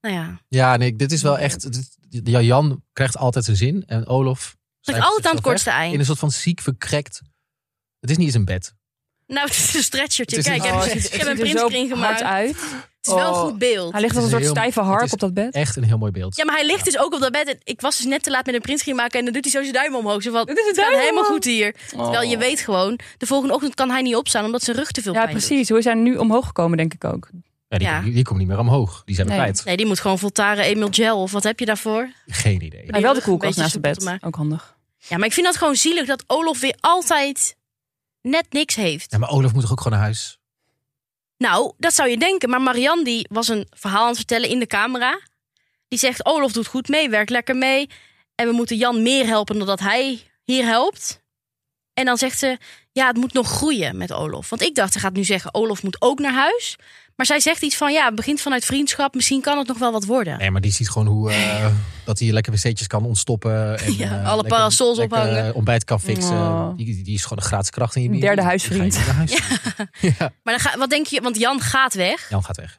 Speaker 1: Nou ja,
Speaker 3: Ja, nee, dit is wel echt... dit- ja, Jan krijgt altijd zijn zin en Olof...
Speaker 1: dat
Speaker 3: schrijft
Speaker 1: ik altijd aan het
Speaker 3: zichzelf
Speaker 1: kortste
Speaker 3: weg In
Speaker 1: eind.
Speaker 3: een soort van ziek verkrekt... Het is niet eens een bed.
Speaker 1: Nou, het is een stretchertje.
Speaker 3: Het is
Speaker 1: Kijk,
Speaker 3: een-
Speaker 1: ik
Speaker 3: Oh,
Speaker 1: heb,
Speaker 3: het is-
Speaker 1: ik
Speaker 3: het
Speaker 1: heb een
Speaker 2: ziet er zo
Speaker 1: printscreen gemaakt.
Speaker 2: hard uit.
Speaker 1: Het is wel een
Speaker 3: Oh.
Speaker 1: goed beeld.
Speaker 2: Hij ligt als een
Speaker 3: Het
Speaker 2: soort
Speaker 3: is heel-
Speaker 2: stijve
Speaker 3: het
Speaker 2: hark
Speaker 3: is
Speaker 2: op dat bed.
Speaker 3: Echt een heel mooi beeld.
Speaker 1: Ja, maar hij ligt dus ook op dat bed. En ik was dus net te laat met een printscreen maken. En dan doet hij zo zijn duim omhoog. Zo van,
Speaker 2: Dit is het
Speaker 1: het gaat
Speaker 2: duim
Speaker 1: helemaal
Speaker 2: omhoog.
Speaker 1: goed hier. Terwijl je
Speaker 2: Oh.
Speaker 1: weet gewoon, de volgende ochtend kan hij niet opstaan. Omdat zijn rug te veel
Speaker 2: Ja,
Speaker 1: pijn doet.
Speaker 2: precies. Hoe is hij nu omhoog gekomen, denk ik ook.
Speaker 3: Ja, die,
Speaker 1: Ja.
Speaker 3: die, die komt niet meer omhoog. Die zijn we
Speaker 2: Nee.
Speaker 3: kwijt.
Speaker 1: Nee, die moet gewoon Voltaren Emil Gel. Of wat heb je daarvoor?
Speaker 3: Geen idee.
Speaker 2: Hij Ah, wel de
Speaker 1: rug een
Speaker 2: koelkast
Speaker 1: beetje
Speaker 2: naast het
Speaker 1: soepel te
Speaker 2: bed.
Speaker 1: maken.
Speaker 2: Ook handig.
Speaker 1: Ja, maar ik vind dat gewoon zielig dat Olof weer altijd net niks heeft.
Speaker 3: Ja, maar Olaf moet toch ook gewoon naar huis?
Speaker 1: Nou, dat zou je denken. Maar Marianne die was een verhaal aan het vertellen in de camera. Die zegt, Olof doet goed mee, werkt lekker mee. En we moeten Jan meer helpen dan dat hij hier helpt. En dan zegt ze, ja, het moet nog groeien met Olof. Want ik dacht, ze gaat nu zeggen, Olof moet ook naar huis. Maar zij zegt iets van, ja, het begint vanuit vriendschap. Misschien kan het nog wel wat worden.
Speaker 3: Nee, maar die ziet gewoon hoe eh, dat hij lekker wc'tjes kan ontstoppen. En,
Speaker 1: Ja,
Speaker 3: eh,
Speaker 1: alle parasols
Speaker 3: lekker
Speaker 1: ophangen.
Speaker 3: ontbijt kan fixen.
Speaker 2: Oh.
Speaker 3: Die, die is gewoon een gratis kracht in je
Speaker 2: Een
Speaker 3: bier.
Speaker 2: derde
Speaker 3: Die
Speaker 2: huisvriend.
Speaker 3: ga je naar huis.
Speaker 1: Maar dan ga, wat denk je, want Jan gaat weg.
Speaker 3: Jan gaat weg.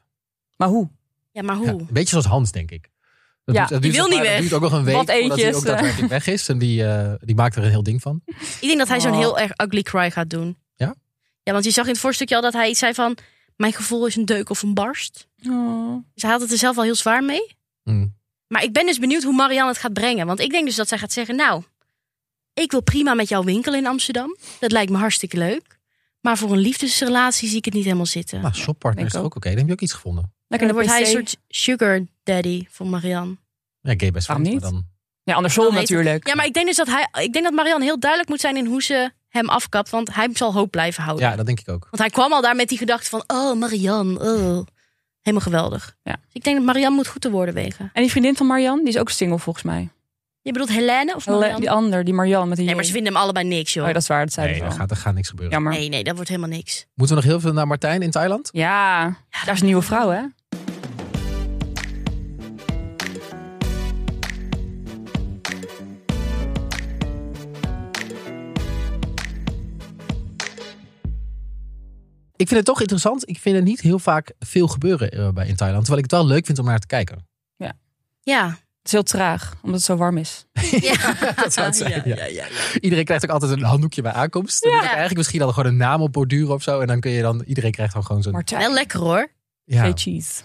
Speaker 2: Maar hoe?
Speaker 1: Oh. Ja, maar
Speaker 3: Ja,
Speaker 1: hoe?
Speaker 3: een beetje zoals Hans, denk ik. Dat
Speaker 2: Ja,
Speaker 3: duurt- dat
Speaker 1: die
Speaker 3: duurt
Speaker 1: wil
Speaker 3: nog
Speaker 1: niet
Speaker 3: maar-
Speaker 1: weg.
Speaker 3: Dat duurt ook nog een week
Speaker 2: Wat
Speaker 3: voordat hij
Speaker 2: eentjes,
Speaker 3: ook
Speaker 2: eh.
Speaker 3: daadwerkelijk weg is. En die, eh, die maakt er een heel ding van.
Speaker 1: Ik denk dat hij zo'n
Speaker 2: Oh.
Speaker 1: heel erg ugly cry gaat doen.
Speaker 3: Ja?
Speaker 1: Ja, want je zag in het voorstukje al dat hij iets zei van... mijn gevoel is een deuk of een barst. Dus hij had het er zelf al heel zwaar mee.
Speaker 2: Mm.
Speaker 3: Hm.
Speaker 1: Maar ik ben dus benieuwd hoe Marianne het gaat brengen. Want ik denk dus dat zij gaat zeggen... nou, ik wil prima met jouw winkel in Amsterdam. Dat lijkt me hartstikke leuk. Maar voor een liefdesrelatie zie ik het niet helemaal zitten.
Speaker 3: Maar Ah, shoppartner
Speaker 2: denk
Speaker 3: is toch
Speaker 2: ook.
Speaker 3: ook oké. Dan heb je ook iets gevonden.
Speaker 1: en
Speaker 2: Lekker
Speaker 1: dan
Speaker 2: de
Speaker 1: wordt hij een
Speaker 2: PC.
Speaker 1: soort sugar daddy van Marianne.
Speaker 3: Ja, gay best
Speaker 2: Waarom
Speaker 3: friend,
Speaker 2: niet?
Speaker 3: maar dan-
Speaker 2: Ja, andersom
Speaker 1: Dan heet-
Speaker 2: natuurlijk.
Speaker 1: Ja, maar ik denk dus dat, hij, ik denk dat Marianne heel duidelijk moet zijn in hoe ze hem afkapt. Want hij zal hoop blijven
Speaker 2: Oh,
Speaker 1: houden.
Speaker 3: ja, dat denk ik ook.
Speaker 1: Want hij kwam al daar met die gedachte van... oh, Marianne, oh. Helemaal geweldig.
Speaker 2: Ja.
Speaker 1: Dus ik denk dat Marianne moet goed te woorden wegen.
Speaker 2: En die vriendin van Marian, die is ook single volgens mij.
Speaker 1: Je bedoelt Helene of Marianne?
Speaker 2: Die ander, die Marian met die.
Speaker 1: Oh, Nee, maar ze vinden hem allebei niks, joh.
Speaker 2: Oh, dat is waar, dat zei
Speaker 3: Nee,
Speaker 2: ze
Speaker 3: daar
Speaker 2: wel.
Speaker 3: gaat, daar gaat niks gebeuren.
Speaker 2: Jammer.
Speaker 1: Nee, nee, dat wordt helemaal niks.
Speaker 3: Moeten we nog heel veel naar Martijn in Thailand?
Speaker 2: Ja, daar is een nieuwe vrouw, hè?
Speaker 3: ik vind het toch interessant. Ik vind er niet heel vaak veel gebeuren eh, bij in Thailand. Terwijl ik het wel leuk vind om naar te kijken.
Speaker 1: Ja.
Speaker 2: Het is heel traag, omdat het zo warm is.
Speaker 1: ja.
Speaker 3: Dat zou het zijn, ja.
Speaker 1: ja, ja, ja.
Speaker 3: Iedereen krijgt ook altijd een handdoekje bij aankomst. Dan
Speaker 2: Ja.
Speaker 3: moet ik eigenlijk misschien dan gewoon een naam op borduren of zo. En dan kun je dan, iedereen krijgt dan gewoon zo'n...
Speaker 2: Martijn,
Speaker 1: Wel lekker hoor.
Speaker 3: Ja.
Speaker 2: twee cheese.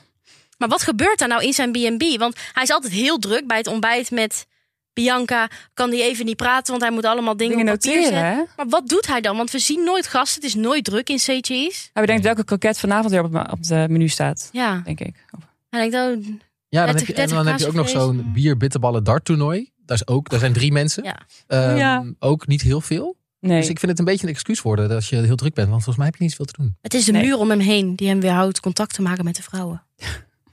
Speaker 1: Maar wat gebeurt daar nou in zijn B&B? Want hij is altijd heel druk bij het ontbijt met Bianca. Kan die even niet praten, want hij moet allemaal dingen,
Speaker 2: Dingen
Speaker 1: op papier
Speaker 2: noteren,
Speaker 1: zetten.
Speaker 2: hè?
Speaker 1: Maar wat doet hij dan? Want we zien nooit gasten. Het is nooit druk in CG's.
Speaker 2: Hij bedenkt welke kroket vanavond weer op het, ma- op het menu staat,
Speaker 1: Ja,
Speaker 2: denk ik. Of-
Speaker 1: hij denkt, oh,
Speaker 3: Ja, dan
Speaker 1: 30,
Speaker 3: heb je, en dan
Speaker 1: 30
Speaker 3: heb je ook nog
Speaker 1: kaasvlees.
Speaker 3: zo'n bier-bitterballen dart-toernooi. Daar, is ook- daar zijn drie mensen.
Speaker 1: Ja.
Speaker 3: Ehm,
Speaker 2: Ja.
Speaker 3: Ook niet heel veel.
Speaker 2: Nee,
Speaker 3: Dus ik vind het een beetje een excuus worden dat je heel druk bent. Want volgens mij heb je niet zoveel te doen.
Speaker 1: het is de
Speaker 2: Nee.
Speaker 1: muur om hem heen die hem weerhoudt contact te maken met de vrouwen.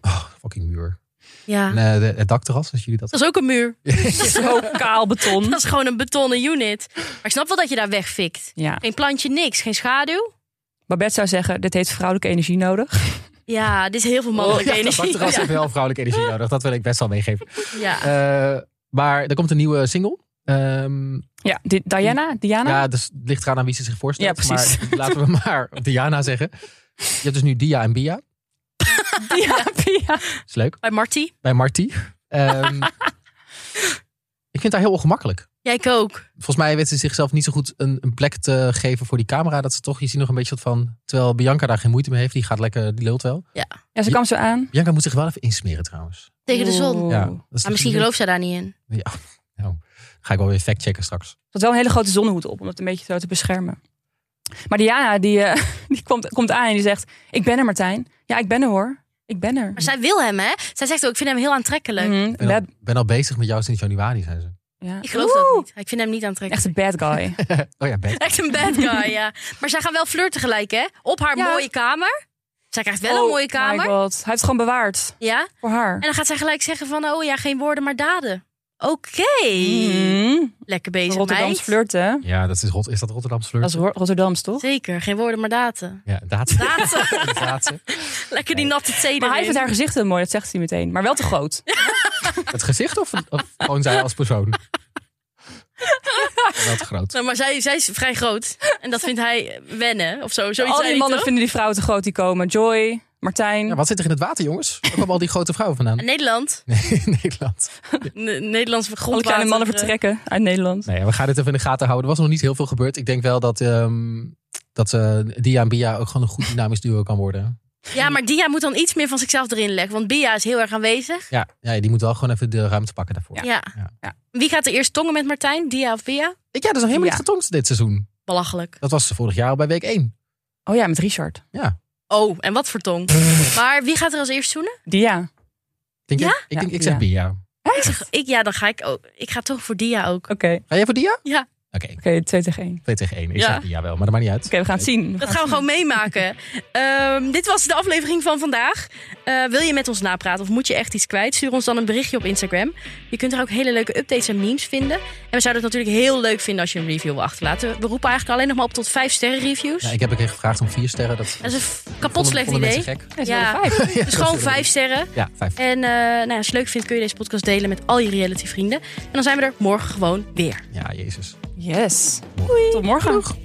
Speaker 3: Oh, fucking muur.
Speaker 1: Ja,
Speaker 3: En, eh, de- het dakterras, als jullie dat...
Speaker 1: Ah. dat is ook een muur.
Speaker 2: zo kaal beton.
Speaker 1: Dat is gewoon een betonnen unit. Maar ik snap wel dat je daar wegfikt.
Speaker 2: Ja.
Speaker 1: Geen plantje, niks. Geen schaduw.
Speaker 2: Babette zou zeggen, dit heeft vrouwelijke energie nodig.
Speaker 1: Ja, dit is heel veel
Speaker 3: Oh,
Speaker 1: mogelijk
Speaker 3: ja, dat
Speaker 1: energie.
Speaker 3: dakterras
Speaker 1: Ja.
Speaker 3: heeft wel vrouwelijke energie nodig. Dat wil ik best wel meegeven.
Speaker 1: Ja.
Speaker 3: Eh, maar er komt een nieuwe single. Ehm,
Speaker 2: Ja, di- Diana? Diana?
Speaker 3: ja, dus het ligt eraan aan wie ze zich voorstelt.
Speaker 2: Ja, precies.
Speaker 3: Maar laten we maar Diana zeggen. Je hebt dus nu Dia en Bia.
Speaker 2: ja, Pia.
Speaker 3: Is leuk.
Speaker 1: Bij Marty.
Speaker 3: Bij Marty. Ehm, ik vind haar heel ongemakkelijk.
Speaker 1: Jij ik ook.
Speaker 3: Volgens mij weet ze zichzelf niet zo goed een, een plek te geven voor die camera. Dat ze toch, je ziet nog een beetje wat van. Terwijl Bianca daar geen moeite mee heeft. Die gaat lekker, die lult wel.
Speaker 2: Ja, ze kwam zo aan.
Speaker 3: Bianca moet zich wel even insmeren trouwens.
Speaker 1: Tegen de zon.
Speaker 2: Oeh.
Speaker 3: Ja,
Speaker 2: Ze
Speaker 3: dat is
Speaker 1: Maar misschien gelooft zij daar niet in.
Speaker 3: Ja, nou, ga ik wel weer factchecken straks.
Speaker 2: had wel een hele grote zonnehoed op, om het een beetje zo te beschermen. Maar Diana, die, eh, die komt, komt aan en die zegt, ik ben er Martijn. Ja, ik ben er hoor. Ik ben er.
Speaker 1: Maar zij wil hem, hè? Zij zegt ook, ik vind hem heel aantrekkelijk.
Speaker 2: Mhm,
Speaker 3: Ik ben, al,
Speaker 2: bad-
Speaker 3: ben al bezig met jou sinds januari, zijn ze.
Speaker 2: ja.
Speaker 1: Ik geloof
Speaker 2: Oeh,
Speaker 1: dat niet. Ik vind hem niet
Speaker 2: Echt
Speaker 1: aantrekkelijk.
Speaker 2: een bad guy.
Speaker 3: Oh ja, ben.
Speaker 1: Echt, een bad guy, ja. Maar zij gaan wel flirten gelijk, hè? Op haar
Speaker 2: Ja.
Speaker 1: mooie kamer. Zij krijgt wel een
Speaker 2: Oh
Speaker 1: mooie
Speaker 2: my
Speaker 1: kamer.
Speaker 2: God. Hij heeft het gewoon bewaard
Speaker 1: Ja.
Speaker 2: voor haar.
Speaker 1: En dan gaat zij gelijk zeggen van, oh ja, geen woorden, maar daden. Oké.
Speaker 2: Mhm.
Speaker 1: Lekker bezig,
Speaker 2: Rotterdams
Speaker 1: meid.
Speaker 2: flirten.
Speaker 3: Ja, dat is, Rot- is dat Rotterdamse
Speaker 2: Dat
Speaker 3: flirt?
Speaker 2: is Ro- Rotterdams, toch?
Speaker 1: Zeker, geen woorden, maar daten.
Speaker 3: Ja, daad.
Speaker 1: Daten.
Speaker 3: Daad ze.
Speaker 1: Lekker die natte thee
Speaker 2: Maar hij
Speaker 1: erin.
Speaker 2: vindt haar gezicht heel mooi, dat zegt hij meteen. Maar wel te groot.
Speaker 3: Het gezicht of, of gewoon zij als persoon? Wel te groot.
Speaker 1: Nou, maar zij, zij is vrij groot. En dat vindt hij wennen, of zo. Zoiets zei
Speaker 2: Al die
Speaker 1: hij
Speaker 2: mannen
Speaker 1: toch?
Speaker 2: vinden die vrouwen te groot die komen. Joy, Martijn.
Speaker 3: Ja, wat zit er in het water, jongens? Waar komen al die grote vrouwen vandaan?
Speaker 1: Nederland.
Speaker 3: Nee, in Nederland.
Speaker 1: N- Nederlands grondwater.
Speaker 2: alle kleine mannen vertrekken uit Nederland.
Speaker 3: Nee, Nou we gaan dit even in de gaten houden. Er was nog niet heel veel gebeurd. Ik denk wel dat, ehm, dat eh, Dia en Bia ook gewoon een goed dynamisch duo kan worden.
Speaker 1: Ja, maar Dia moet dan iets meer van zichzelf erin leggen. Want Bia is heel erg aanwezig.
Speaker 3: Ja, ja, die moet wel gewoon even de ruimte pakken daarvoor.
Speaker 1: Ja.
Speaker 3: Ja,
Speaker 2: Ja.
Speaker 1: Wie gaat er eerst tongen met Martijn? Dia of Bia?
Speaker 3: ja dat is nog helemaal
Speaker 2: Ja.
Speaker 3: niet getongst dit seizoen.
Speaker 1: Belachelijk.
Speaker 3: Dat was vorig jaar al bij week 1.
Speaker 2: Oh ja, met Richard.
Speaker 1: Oh, en wat voor tong. Maar wie gaat er als eerst zoenen?
Speaker 2: Dia.
Speaker 3: Denk
Speaker 1: Ja?
Speaker 3: Ik, ik,
Speaker 2: Ja,
Speaker 3: denk, ik zeg
Speaker 2: ja.
Speaker 3: Bia.
Speaker 1: Ik zeg, ik, ja, dan ga ik ook. Ik ga toch voor Dia ook.
Speaker 2: Oké, oké,
Speaker 3: Ga jij voor Dia?
Speaker 1: Ja.
Speaker 3: Oké,
Speaker 2: twee tegen één. Oké,
Speaker 3: 2 tegen 1. Ik
Speaker 1: Ja.
Speaker 3: zeg Bia wel, maar dat maakt niet uit.
Speaker 2: we gaan het zien. We
Speaker 1: Dat
Speaker 2: het
Speaker 1: gaan we gewoon meemaken. Ehm, dit was de aflevering van vandaag. Eh, wil je met ons napraten of moet je echt iets kwijt? Stuur ons dan een berichtje op Instagram. Je kunt er ook hele leuke updates en memes vinden. En we zouden het natuurlijk heel leuk vinden als je een review wil achterlaten. We roepen eigenlijk alleen nog maar op tot 5 sterren reviews.
Speaker 3: Ja, ik heb een keer gevraagd om 4 sterren. Dat,
Speaker 1: Dat is een f- kapot
Speaker 3: vonden-
Speaker 1: slecht
Speaker 3: vonden
Speaker 1: idee.
Speaker 3: mensen gek.
Speaker 2: zien. Ja,
Speaker 1: Ja.
Speaker 2: het is wel vijf.
Speaker 3: Ja,
Speaker 1: Dus
Speaker 3: dat
Speaker 1: gewoon
Speaker 3: is wel-
Speaker 1: 5 sterren.
Speaker 3: Ja, 5.
Speaker 1: En eh, nou ja, als je het leuk vindt, kun je deze podcast delen met al je reality vrienden. En dan zijn we er morgen gewoon weer.
Speaker 3: Ja, Jezus.
Speaker 2: Yes.
Speaker 3: Doei.
Speaker 2: Tot morgen.